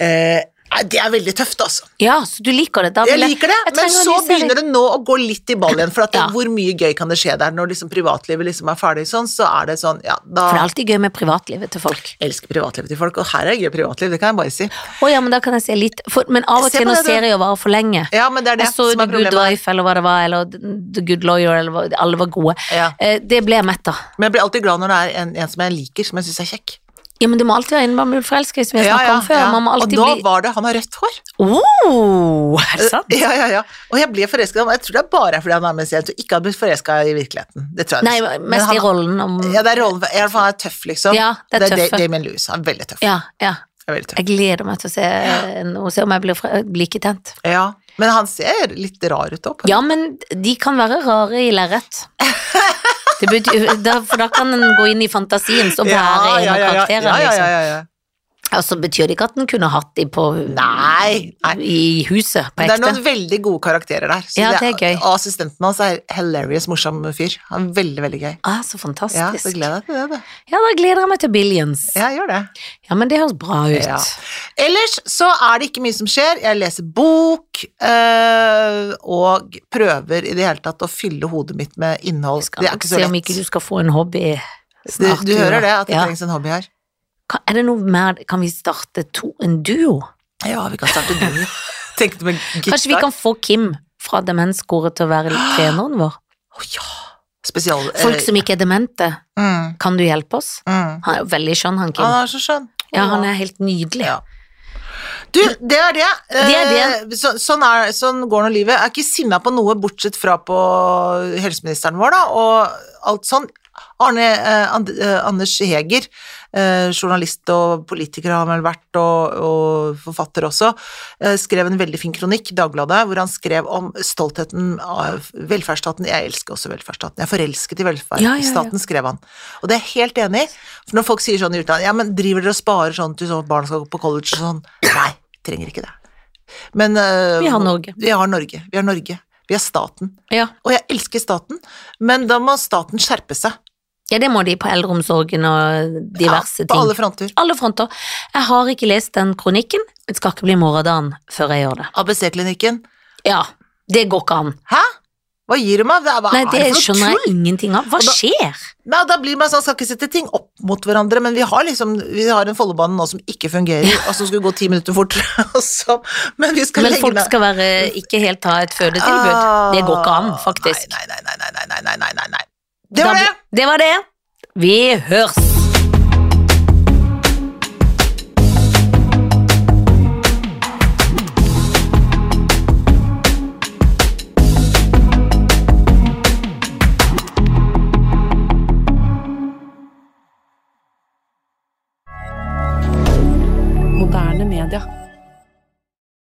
Speaker 1: Eh, nei, det er veldig tøft, altså.
Speaker 2: Ja, så du liker det. Da
Speaker 1: Jeg liker det, men så begynner det nå å gå litt i ball igjen, for at
Speaker 2: Ja.
Speaker 1: hvor mye gøy kan det skje der? Når liksom privatlivet liksom er ferdig sånn, så er det sånn, ja, da
Speaker 2: For det er alltid gøy med privatlivet til folk.
Speaker 1: Jeg elsker privatlivet til folk, og her er det gøy privatliv, det kan jeg bare si.
Speaker 2: Å ja, men da kan jeg se litt for, Men av og
Speaker 1: Se
Speaker 2: til
Speaker 1: på
Speaker 2: når
Speaker 1: det, du.
Speaker 2: serier varer for lenge
Speaker 1: Ja, men det er det
Speaker 2: Jeg så jo
Speaker 1: som
Speaker 2: The
Speaker 1: er
Speaker 2: Good
Speaker 1: problemet.
Speaker 2: Wife, eller hva det var, eller The Good Lawyer, eller hva, alle var gode.
Speaker 1: Ja.
Speaker 2: Eh, Det ble jeg mett av.
Speaker 1: Men jeg blir alltid glad når det er en, en som jeg liker, som jeg syns er kjekk.
Speaker 2: Ja, men det må alltid være innbakt med forelskelse, som vi har snakket om før. Man må
Speaker 1: Og
Speaker 2: alltid
Speaker 1: da
Speaker 2: bli
Speaker 1: var Øh, det han har rødt hår.
Speaker 2: Åh, er det sant?
Speaker 1: Ja, ja, ja. Og jeg ble forelska i ham. Jeg tror det er bare fordi han er med i serien. Jeg tror ikke han ble forelska i virkeligheten. Det tror jeg
Speaker 2: Nei,
Speaker 1: ikke. øh, Men
Speaker 2: mest
Speaker 1: han,
Speaker 2: i rollen om
Speaker 1: Ja, det er rollen. I hvert fall han er tøff, liksom.
Speaker 2: Ja, det er
Speaker 1: Da-
Speaker 2: tøffe.
Speaker 1: Damien Lewis. Han er veldig tøff.
Speaker 2: Ja, ja.
Speaker 1: Han er veldig tøff.
Speaker 2: Jeg gleder meg til å se noe, se om jeg blir, fra- blir ikke tent.
Speaker 1: Ja. Men han ser litt rar ut òg.
Speaker 2: Ja, men de kan være rare i lerret. Det betyr- da, for da kan en gå inn i fantasien som være en av
Speaker 1: ja,
Speaker 2: karakterene.
Speaker 1: ja, ja,
Speaker 2: Liksom.
Speaker 1: ja, ja.
Speaker 2: Og så betyr det ikke at en kunne hatt de på
Speaker 1: Nei, nei.
Speaker 2: i huset på
Speaker 1: Men det er noen
Speaker 2: ekte.
Speaker 1: veldig gode karakterer der. så
Speaker 2: Ja, det er gøy.
Speaker 1: Og assistenten hans er hilarious, morsom fyr. Han er veldig, veldig gøy.
Speaker 2: Ah, så
Speaker 1: Ja,
Speaker 2: fantastisk.
Speaker 1: så gleder jeg meg til det, du.
Speaker 2: Ja, da gleder jeg meg til Billions.
Speaker 1: Ja, gjør det.
Speaker 2: Ja, men det høres bra ut.
Speaker 1: Ja. Ellers så er det ikke mye som skjer. Jeg leser bok øh, og prøver i det hele tatt å fylle hodet mitt med innhold.
Speaker 2: Skal
Speaker 1: Det er
Speaker 2: nok
Speaker 1: ikke så
Speaker 2: se om ikke du
Speaker 1: lett.
Speaker 2: skal få en hobby
Speaker 1: Du,
Speaker 2: snart.
Speaker 1: du hører det, at det
Speaker 2: ja.
Speaker 1: trengs en hobby her.
Speaker 2: Kan- Er det noe mer Kan vi starte to, en duo?
Speaker 1: Ja, vi kan starte duo. Tenkte med gitar.
Speaker 2: Kanskje vi kan få Kim fra Demenskoret til å være treneren vår?
Speaker 1: Å, ja. Spesial...
Speaker 2: Folk som ikke er demente,
Speaker 1: eh, mm,
Speaker 2: kan du hjelpe oss?
Speaker 1: mm.
Speaker 2: Han er jo veldig skjønn, han Kim.
Speaker 1: Han er så skjønn.
Speaker 2: Ja, han er helt nydelig.
Speaker 1: Ah. Ja. Du, det er det.
Speaker 2: Det er
Speaker 1: Eh, Så, sånn, er, sånn går nå livet. Jeg er ikke sinna på noe bortsett fra på helseministeren vår, da, og alt sånn. Arne eh, And, eh, Anders Heger, eh, journalist og politiker har han vel vært, og, og forfatter også, eh, skrev en veldig fin kronikk i Dagbladet hvor han skrev om stoltheten av velferdsstaten. Jeg elsker også velferdsstaten. Jeg er forelsket i
Speaker 2: Ja, ja, ja.
Speaker 1: velferdsstaten, skrev han. Og det er jeg helt enig i. For når folk sier sånn i utlandet, ja, men driver dere og sparer sånn til sånn at barn skal gå på college og sånn? Nei, trenger ikke det. Men eh,
Speaker 2: Vi har Norge.
Speaker 1: Vi har Norge. Vi har Norge. Vi er staten.
Speaker 2: Ja.
Speaker 1: Og jeg elsker staten, men da må staten skjerpe seg.
Speaker 2: ja, det må de på eldreomsorgen og diverse
Speaker 1: ja, på alle
Speaker 2: ting.
Speaker 1: fronter.
Speaker 2: Alle fronter. Jeg har ikke lest den kronikken. Det skal ikke bli morgendagen før jeg gjør det.
Speaker 1: ABC-klinikken.
Speaker 2: Ja, det går ikke an.
Speaker 1: Hæ? Hva gir du meg? Det er, hva
Speaker 2: Nei,
Speaker 1: Ah, er
Speaker 2: det
Speaker 1: det for
Speaker 2: skjønner
Speaker 1: noe
Speaker 2: jeg
Speaker 1: tull?
Speaker 2: ingenting av. Hva
Speaker 1: Og da-
Speaker 2: skjer?
Speaker 1: Nei, da blir man sånn, skal ikke sette ting opp mot hverandre, men vi har liksom, vi har en Follobane nå som ikke fungerer, og som skulle gå ti minutter fortere, og så, men vi skal
Speaker 2: Men
Speaker 1: legge
Speaker 2: folk
Speaker 1: ned.
Speaker 2: skal være, ikke helt ha et fødetilbud. Det går ikke an, faktisk.
Speaker 1: Ah, Nei, nei, nei, nei, nei, nei, nei, nei, nei, nei. Det var
Speaker 2: Da-
Speaker 1: det!
Speaker 2: Det var det. Vi høres.
Speaker 5: Moderne media.